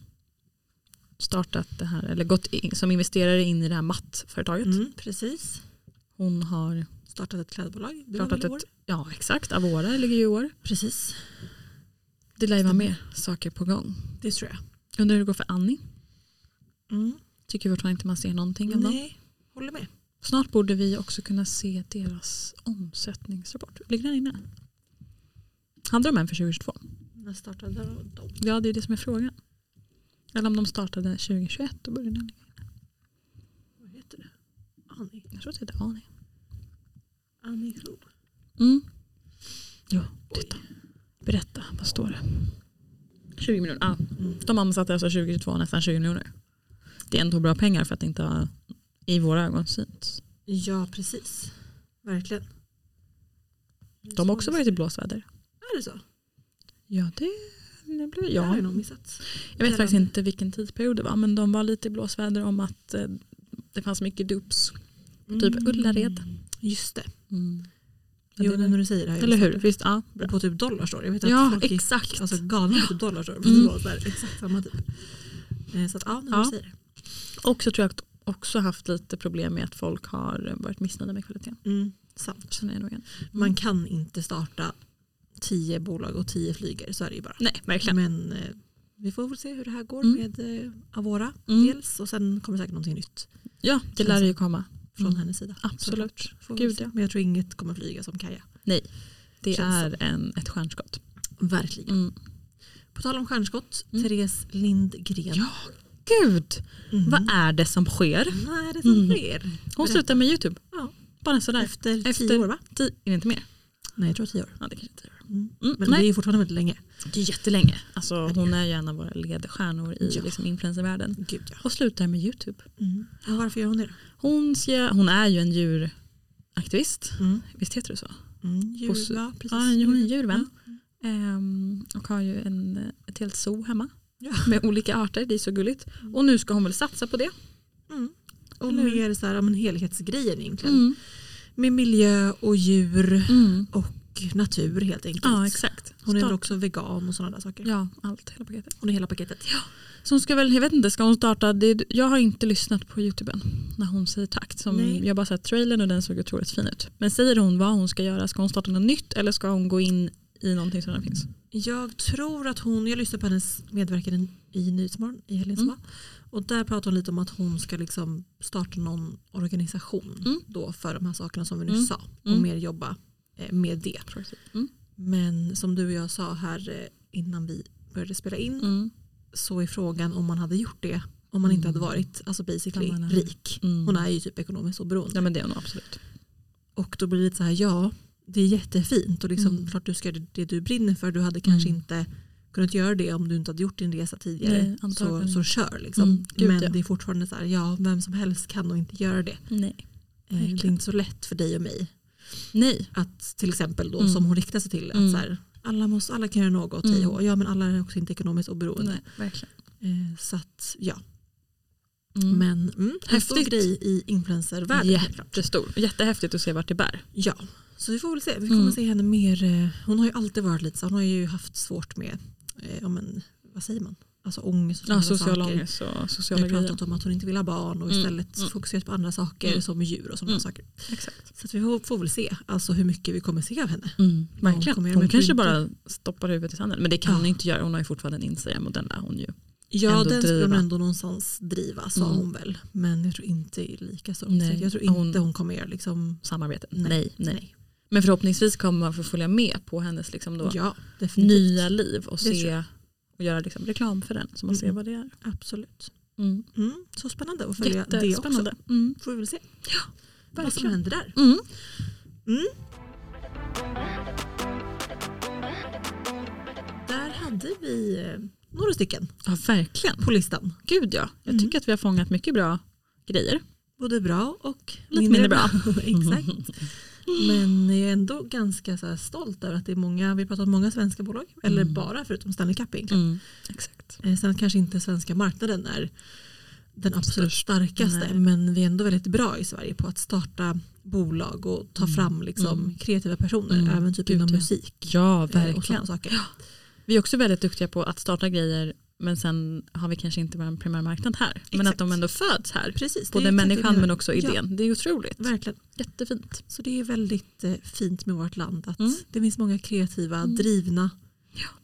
Speaker 3: startat det här, eller gått in, som investerare in i det här mattföretaget.
Speaker 4: Mm, precis.
Speaker 3: Hon har,
Speaker 4: Startat ett klädbolag. Det
Speaker 3: Startat
Speaker 4: var väl i
Speaker 3: ett-
Speaker 4: år?
Speaker 3: ja exakt, Avora ligger ju i år.
Speaker 4: Precis.
Speaker 3: Det lär ju vara mer saker på gång.
Speaker 4: Det tror jag.
Speaker 3: Undrar hur det går för Annie.
Speaker 4: Mm.
Speaker 3: Tycker fortfarande inte man ser någonting om dem.
Speaker 4: Nej, håller med.
Speaker 3: Snart borde vi också kunna se deras omsättningsrapport. Ligger den inne? Hade de en för 2022?
Speaker 4: När startade de?
Speaker 3: Ja, det är det som är frågan. Eller om de startade 2021 och började den.
Speaker 4: Vad heter det? Annie.
Speaker 3: Jag tror att det heter Ani.
Speaker 4: Annie Who?
Speaker 3: Mm. Ja,
Speaker 4: Oj.
Speaker 3: titta. Berätta, vad står det? 20 miljoner. Ah,
Speaker 4: Mm.
Speaker 3: de omsatte alltså 2022 nästan 20 miljoner. Det är ändå bra pengar för att det inte har i våra ögon synts.
Speaker 4: Ja, precis. Verkligen.
Speaker 3: De har också varit i blåsväder.
Speaker 4: Är det så?
Speaker 3: Ja, det, det blev
Speaker 4: Det har
Speaker 3: ja.
Speaker 4: jag nog missat.
Speaker 3: Jag vet faktiskt inte vilken tidsperiod det var, men de var lite i blåsväder om att eh, det fanns mycket dubs. Typ
Speaker 4: Mm.
Speaker 3: Ullared.
Speaker 4: Just det.
Speaker 3: Mm.
Speaker 4: Jo, men när du säger det har jag
Speaker 3: Eller
Speaker 4: missat
Speaker 3: hur?
Speaker 4: det.
Speaker 3: Visst, ja. Bra.
Speaker 4: Och På typ dollarstore. Jag vet att
Speaker 3: Ja,
Speaker 4: folk gick
Speaker 3: exakt.
Speaker 4: alltså, galna på typ dollarstore. För
Speaker 3: Mm.
Speaker 4: det var så här, exakt samma typ. Eh, Så att, ja, när
Speaker 3: Ja.
Speaker 4: du säger
Speaker 3: Och så tror jag att också haft lite problem med att folk har varit missnöjda med kvaliteten. Mm.
Speaker 4: det. Mm, sant.
Speaker 3: Känner jag nog igen.
Speaker 4: Man kan inte starta tio bolag och tio flyger. Så är det ju bara.
Speaker 3: Nej, verkligen.
Speaker 4: Men eh, vi får väl se hur det här går
Speaker 3: Mm.
Speaker 4: med eh, Avora.
Speaker 3: Mm.
Speaker 4: Dels och sen kommer säkert någonting nytt
Speaker 3: Ja, det lär ju komma.
Speaker 4: från
Speaker 3: Mm.
Speaker 4: hennes sida.
Speaker 3: Absolut.
Speaker 4: Såklart. Får vi
Speaker 3: Gud,
Speaker 4: se.
Speaker 3: ja.
Speaker 4: Men jag tror inget kommer flyga som Kaja.
Speaker 3: Det
Speaker 4: Känns
Speaker 3: är en, ett stjärnskott.
Speaker 4: Verkligen.
Speaker 3: Mm.
Speaker 4: På tal om stjärnskott,
Speaker 3: Mm.
Speaker 4: Therese Lindgren.
Speaker 3: Ja. Gud,
Speaker 4: Mm.
Speaker 3: vad är det som sker?
Speaker 4: Vad är det som
Speaker 3: Mm.
Speaker 4: sker?
Speaker 3: Hon
Speaker 4: Berätta.
Speaker 3: slutar med YouTube.
Speaker 4: Ja.
Speaker 3: Bara sådär.
Speaker 4: Efter tio
Speaker 3: Efter-
Speaker 4: år va?
Speaker 3: Ti- Är det inte mer?
Speaker 4: Nej jag tror tio år.
Speaker 3: Ja, det kanske inte är.
Speaker 4: Mm.
Speaker 3: Mm,
Speaker 4: Men det är
Speaker 3: nej,
Speaker 4: ju fortfarande väldigt länge.
Speaker 3: det är jättelänge. Alltså, hon är ju en av våra ledstjärnor i
Speaker 4: Ja.
Speaker 3: liksom, influencervärlden.
Speaker 4: Gud ja.
Speaker 3: Och slutar med YouTube.
Speaker 4: Mm. Ja, varför gör hon det då?
Speaker 3: Hon, ska, hon är ju en djuraktivist.
Speaker 4: Mm.
Speaker 3: Visst heter det så?
Speaker 4: Mm. Djur,
Speaker 3: Och så-
Speaker 4: ja, precis.
Speaker 3: Ja, hon är en djurvän. Ehm, och har ju en, ett helt zoo hemma.
Speaker 4: Ja.
Speaker 3: Med olika arter, det är så gulligt. Och nu ska hon väl satsa på det.
Speaker 4: Mm. Och
Speaker 3: Eller hur?
Speaker 4: mer så här, ja, men helhetsgrejen egentligen. Med miljö och djur
Speaker 3: Mm.
Speaker 4: och natur helt enkelt.
Speaker 3: Ja exakt.
Speaker 4: hon är väl
Speaker 3: Start-
Speaker 4: också vegan och sådana där saker.
Speaker 3: Ja, allt, hela paketet.
Speaker 4: Hon är hela paketet.
Speaker 3: Så hon ska väl, jag vet inte, ska hon starta, det, jag har inte lyssnat på youtuben när hon säger takt. Som,
Speaker 4: Nej.
Speaker 3: jag har bara sett trailern och den såg otroligt fin ut. Men säger hon vad hon ska göra, ska hon starta något nytt eller ska hon gå in i någonting som redan finns?
Speaker 4: Jag tror att hon, jag lyssnade på hennes medverkan i- i Nyhetsmorgon i helgen som
Speaker 3: Mm.
Speaker 4: var. Och där pratade hon lite om att hon ska liksom starta någon organisation
Speaker 3: Mm.
Speaker 4: då för de här sakerna som vi nyss
Speaker 3: Mm.
Speaker 4: sa. Och
Speaker 3: Mm.
Speaker 4: mer jobba eh, med det.
Speaker 3: Mm.
Speaker 4: Men som du och jag sa här eh, innan vi började spela in
Speaker 3: Mm.
Speaker 4: så är frågan om man hade gjort det om man inte hade varit alltså basically
Speaker 3: Kan man ha-
Speaker 4: rik.
Speaker 3: Mm.
Speaker 4: Hon är ju typ ekonomiskt oberoende.
Speaker 3: Ja men det är hon absolut.
Speaker 4: Och då blir det lite så här, ja det är jättefint och liksom,
Speaker 3: Mm.
Speaker 4: klart du ska göra det du brinner för. Du hade kanske
Speaker 3: Mm.
Speaker 4: inte kunnat göra det om du inte hade gjort din resa tidigare.
Speaker 3: Nej,
Speaker 4: så,
Speaker 3: antagligen
Speaker 4: så
Speaker 3: inte.
Speaker 4: kör liksom.
Speaker 3: Mm, gud,
Speaker 4: Men
Speaker 3: ja.
Speaker 4: det är fortfarande så här, ja vem som helst kan nog inte göra det.
Speaker 3: Nej.
Speaker 4: Eh, Det är
Speaker 3: Verkligen.
Speaker 4: inte så lätt för dig och mig
Speaker 3: Nej.
Speaker 4: att till exempel då
Speaker 3: Mm.
Speaker 4: som hon riktar sig till att
Speaker 3: Mm.
Speaker 4: så här, alla, måste, alla kan göra något,
Speaker 3: Mm.
Speaker 4: hej och hå. ja men alla är också inte ekonomiskt oberoende.
Speaker 3: Nej, verkligen.
Speaker 4: Eh, Så att ja,
Speaker 3: Mm.
Speaker 4: men mm, en stor
Speaker 3: Häftigt.
Speaker 4: grej i influencervärlden. helt klart.
Speaker 3: Jättestor. Jättehäftigt att se vart det bär.
Speaker 4: Ja, så vi får väl se. Vi kommer
Speaker 3: Mm.
Speaker 4: se henne mer. eh, Hon har ju alltid varit lite så. Hon har ju haft svårt med, eh, ja men vad säger man? alltså ångest och
Speaker 3: Ja,
Speaker 4: sådana
Speaker 3: social
Speaker 4: saker.
Speaker 3: ångest och
Speaker 4: Vi
Speaker 3: sociala
Speaker 4: har
Speaker 3: grejer.
Speaker 4: pratat om att hon inte vill ha barn och
Speaker 3: Mm,
Speaker 4: istället
Speaker 3: mm.
Speaker 4: fokuserat på andra saker
Speaker 3: Mm.
Speaker 4: som djur och sådana
Speaker 3: Mm.
Speaker 4: saker.
Speaker 3: Exakt.
Speaker 4: Så att vi får, får väl se alltså, hur mycket vi kommer se av henne.
Speaker 3: Mm, verkligen.
Speaker 4: kommer
Speaker 3: Hon,
Speaker 4: göra med
Speaker 3: kanske
Speaker 4: pynten.
Speaker 3: bara stoppar huvudet i sanden. Men det kan
Speaker 4: Ja.
Speaker 3: hon inte göra. Hon har ju fortfarande en Instagram och den lär hon ju.
Speaker 4: Ja
Speaker 3: Ändå
Speaker 4: den skulle hon
Speaker 3: driva.
Speaker 4: ändå någonstans driva sa
Speaker 3: Mm.
Speaker 4: hon väl. Men jag tror inte i lika stor
Speaker 3: Nej,
Speaker 4: utsträckning. Jag tror
Speaker 3: hon-
Speaker 4: inte hon kommer göra liksom.
Speaker 3: Samarbeten.
Speaker 4: Nej,
Speaker 3: Nej, nej. Men förhoppningsvis kommer man få följa med på hennes liksom då
Speaker 4: Ja definitivt.
Speaker 3: nya liv och
Speaker 4: Det tror
Speaker 3: se och göra liksom reklam för den så man ser
Speaker 4: Mm.
Speaker 3: vad det är.
Speaker 4: Absolut.
Speaker 3: Mm.
Speaker 4: Mm, så spännande att följa det också.
Speaker 3: Jättespännande. Mm.
Speaker 4: Får vi väl se vad som
Speaker 3: Verkligen.
Speaker 4: händer där. Mm.
Speaker 3: Mm.
Speaker 4: Där hade vi eh, några stycken
Speaker 3: Ja, verkligen.
Speaker 4: på listan.
Speaker 3: Gud ja. Jag
Speaker 4: Mm.
Speaker 3: tycker att vi har fångat mycket bra grejer.
Speaker 4: Både bra och
Speaker 3: Lite mindre bra.
Speaker 4: Exakt. Men jag är ändå ganska så här stolt över att det är många, vi har pratat om många svenska bolag, eller
Speaker 3: Mm.
Speaker 4: bara förutom Stanley Cup egentligen.
Speaker 3: Mm. Exakt.
Speaker 4: Eh, Sen kanske inte svenska marknaden är den absolut starkaste
Speaker 3: Nej.
Speaker 4: men vi är ändå väldigt bra i Sverige på att starta bolag och ta
Speaker 3: Mm.
Speaker 4: fram liksom,
Speaker 3: Mm.
Speaker 4: kreativa personer
Speaker 3: Mm.
Speaker 4: även typ
Speaker 3: Gud,
Speaker 4: inom
Speaker 3: ja.
Speaker 4: musik.
Speaker 3: Ja,
Speaker 4: eh, Och sådana
Speaker 3: verkligen.
Speaker 4: saker.
Speaker 3: Vi är också väldigt duktiga på att starta grejer men sen har vi kanske inte vår primärmarknad här. Men
Speaker 4: Exakt.
Speaker 3: att de ändå föds här.
Speaker 4: Precis, det är exakt
Speaker 3: Både
Speaker 4: det vi
Speaker 3: människan
Speaker 4: gör.
Speaker 3: men också
Speaker 4: Ja.
Speaker 3: idén. Det är otroligt.
Speaker 4: Verkligen.
Speaker 3: Jättefint.
Speaker 4: Så det är väldigt eh, fint med vårt land att
Speaker 3: Mm.
Speaker 4: det finns många kreativa,
Speaker 3: Mm.
Speaker 4: drivna,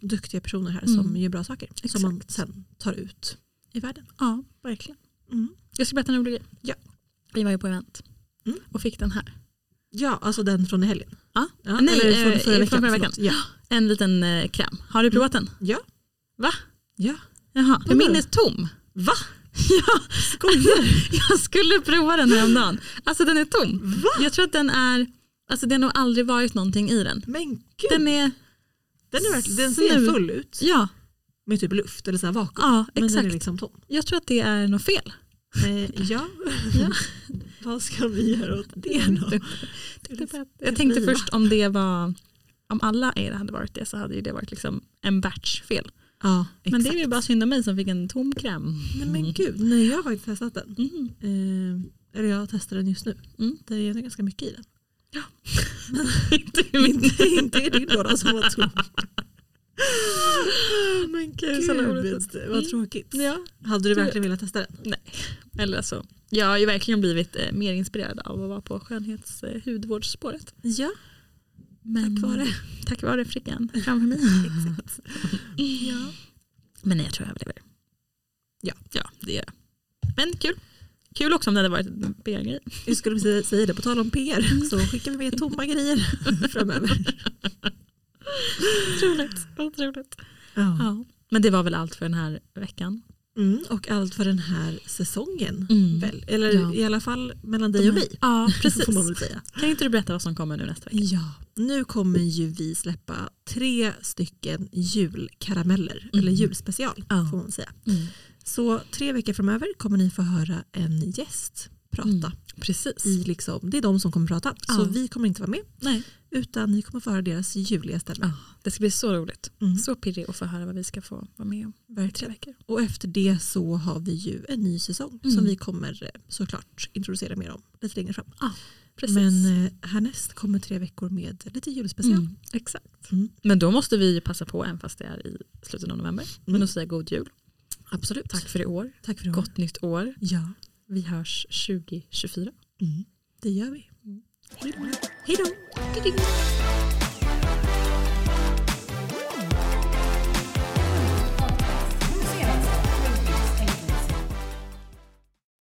Speaker 4: duktiga personer här som
Speaker 3: Mm.
Speaker 4: gör bra saker som
Speaker 3: Exakt.
Speaker 4: man sen tar ut i världen.
Speaker 3: Ja, verkligen.
Speaker 4: Mm.
Speaker 3: Jag ska berätta en rolig grej.
Speaker 4: Ja.
Speaker 3: Vi var ju på event
Speaker 4: Mm.
Speaker 3: och fick den här.
Speaker 4: Ja, alltså den från i helgen.
Speaker 3: Ja.
Speaker 4: Ja,
Speaker 3: Nej,
Speaker 4: eller
Speaker 3: eh,
Speaker 4: från förra
Speaker 3: från
Speaker 4: veckan.
Speaker 3: förra veckan.
Speaker 4: förlåt. Ja.
Speaker 3: En liten eh, kräm. Har du provat den?
Speaker 4: Ja.
Speaker 3: Va?
Speaker 4: Mm. Ja.
Speaker 3: Jaha, för
Speaker 4: Vadå?
Speaker 3: min är tom.
Speaker 4: Va?
Speaker 3: Ja,
Speaker 4: Skojar
Speaker 3: jag skulle prova den häromdagen. Alltså den är tom.
Speaker 4: Va?
Speaker 3: Jag tror att den är, alltså det har nog aldrig varit någonting i den.
Speaker 4: Men gud, den,
Speaker 3: Den är,
Speaker 4: är verkligen, den ser
Speaker 3: Snu-
Speaker 4: full ut
Speaker 3: ja,
Speaker 4: med typ luft eller så här vakuum.
Speaker 3: ja
Speaker 4: men den är
Speaker 3: exakt.
Speaker 4: liksom tom.
Speaker 3: Jag tror att det är något fel.
Speaker 4: Eh, ja. vad ska vi göra åt det då?
Speaker 3: Jag tänkte först om det var, om alla er hade varit det så hade ju det varit liksom en batch fel.
Speaker 4: Ja, exakt.
Speaker 3: Men det är ju bara synd om mig som fick en tom kräm.
Speaker 4: Nej men gud, nej jag har faktiskt testat den.
Speaker 3: Mm.
Speaker 4: Eh, eller jag testar den just nu.
Speaker 3: Mm.
Speaker 4: Det är ändå ganska mycket i den.
Speaker 3: Inte min.
Speaker 4: inte, inte i din låda som man tror.
Speaker 3: Men
Speaker 4: Gud, vad tråkigt.
Speaker 3: Ja.
Speaker 4: Hade du
Speaker 3: Du-
Speaker 4: verkligen velat testa den?
Speaker 3: Eller så. Jag har ju verkligen blivit eh, mer inspirerad av att vara på skönhets eh, hudvårdsspåret.
Speaker 4: Ja,
Speaker 3: Men,
Speaker 4: Tack vare.
Speaker 3: Tack vare frickan framför mig.
Speaker 4: exakt. Ja.
Speaker 3: Men jag tror jag överlever.
Speaker 4: Ja.
Speaker 3: ja, det gör jag. Men kul. Kul också om det hade varit en PR-grej.
Speaker 4: Jag skulle precis säga det, på tal om PR så skickar vi med tomma grejer framöver.
Speaker 3: Otroligt. Otroligt.
Speaker 4: Ja.
Speaker 3: Ja. Men det var väl allt för den här veckan.
Speaker 4: Mm, och allt för den här säsongen.
Speaker 3: Mm.
Speaker 4: Väl? Eller
Speaker 3: Ja.
Speaker 4: i alla fall mellan dig och mig.
Speaker 3: Ja, precis.
Speaker 4: Får man väl säga.
Speaker 3: Kan inte du berätta vad som kommer nu nästa vecka?
Speaker 4: Ja, nu kommer ju vi släppa tre stycken julkarameller,
Speaker 3: Mm.
Speaker 4: eller julspecial
Speaker 3: Ja.
Speaker 4: får man säga.
Speaker 3: Mm.
Speaker 4: Så tre veckor framöver kommer ni få höra en gäst prata.
Speaker 3: Mm. Precis.
Speaker 4: I liksom, det är de som kommer prata, så
Speaker 3: Ja.
Speaker 4: vi kommer inte vara med
Speaker 3: Nej.
Speaker 4: utan ni kommer få höra deras juliga stämma.
Speaker 3: Ja. Det ska bli så roligt.
Speaker 4: Mm.
Speaker 3: Så pirrig att få höra vad vi ska få vara med om. Tre
Speaker 4: Verkligen.
Speaker 3: veckor.
Speaker 4: Och efter det så har vi ju en ny säsong
Speaker 3: Mm.
Speaker 4: som vi kommer eh, såklart introducera mer om lite längre fram.
Speaker 3: Precis.
Speaker 4: Men eh, härnäst kommer tre veckor med lite julspecial.
Speaker 3: Mm, exakt.
Speaker 4: Mm.
Speaker 3: Men då måste vi ju passa på, även fast det är i slutet av november, men
Speaker 4: Mm.
Speaker 3: att säga god jul.
Speaker 4: Absolut.
Speaker 3: Tack för i år.
Speaker 4: Tack för det.
Speaker 3: Gott nytt år.
Speaker 4: Ja,
Speaker 3: Vi hörs 2024.
Speaker 4: det gör vi.
Speaker 3: Mm.
Speaker 4: Hej då.
Speaker 3: Hej då.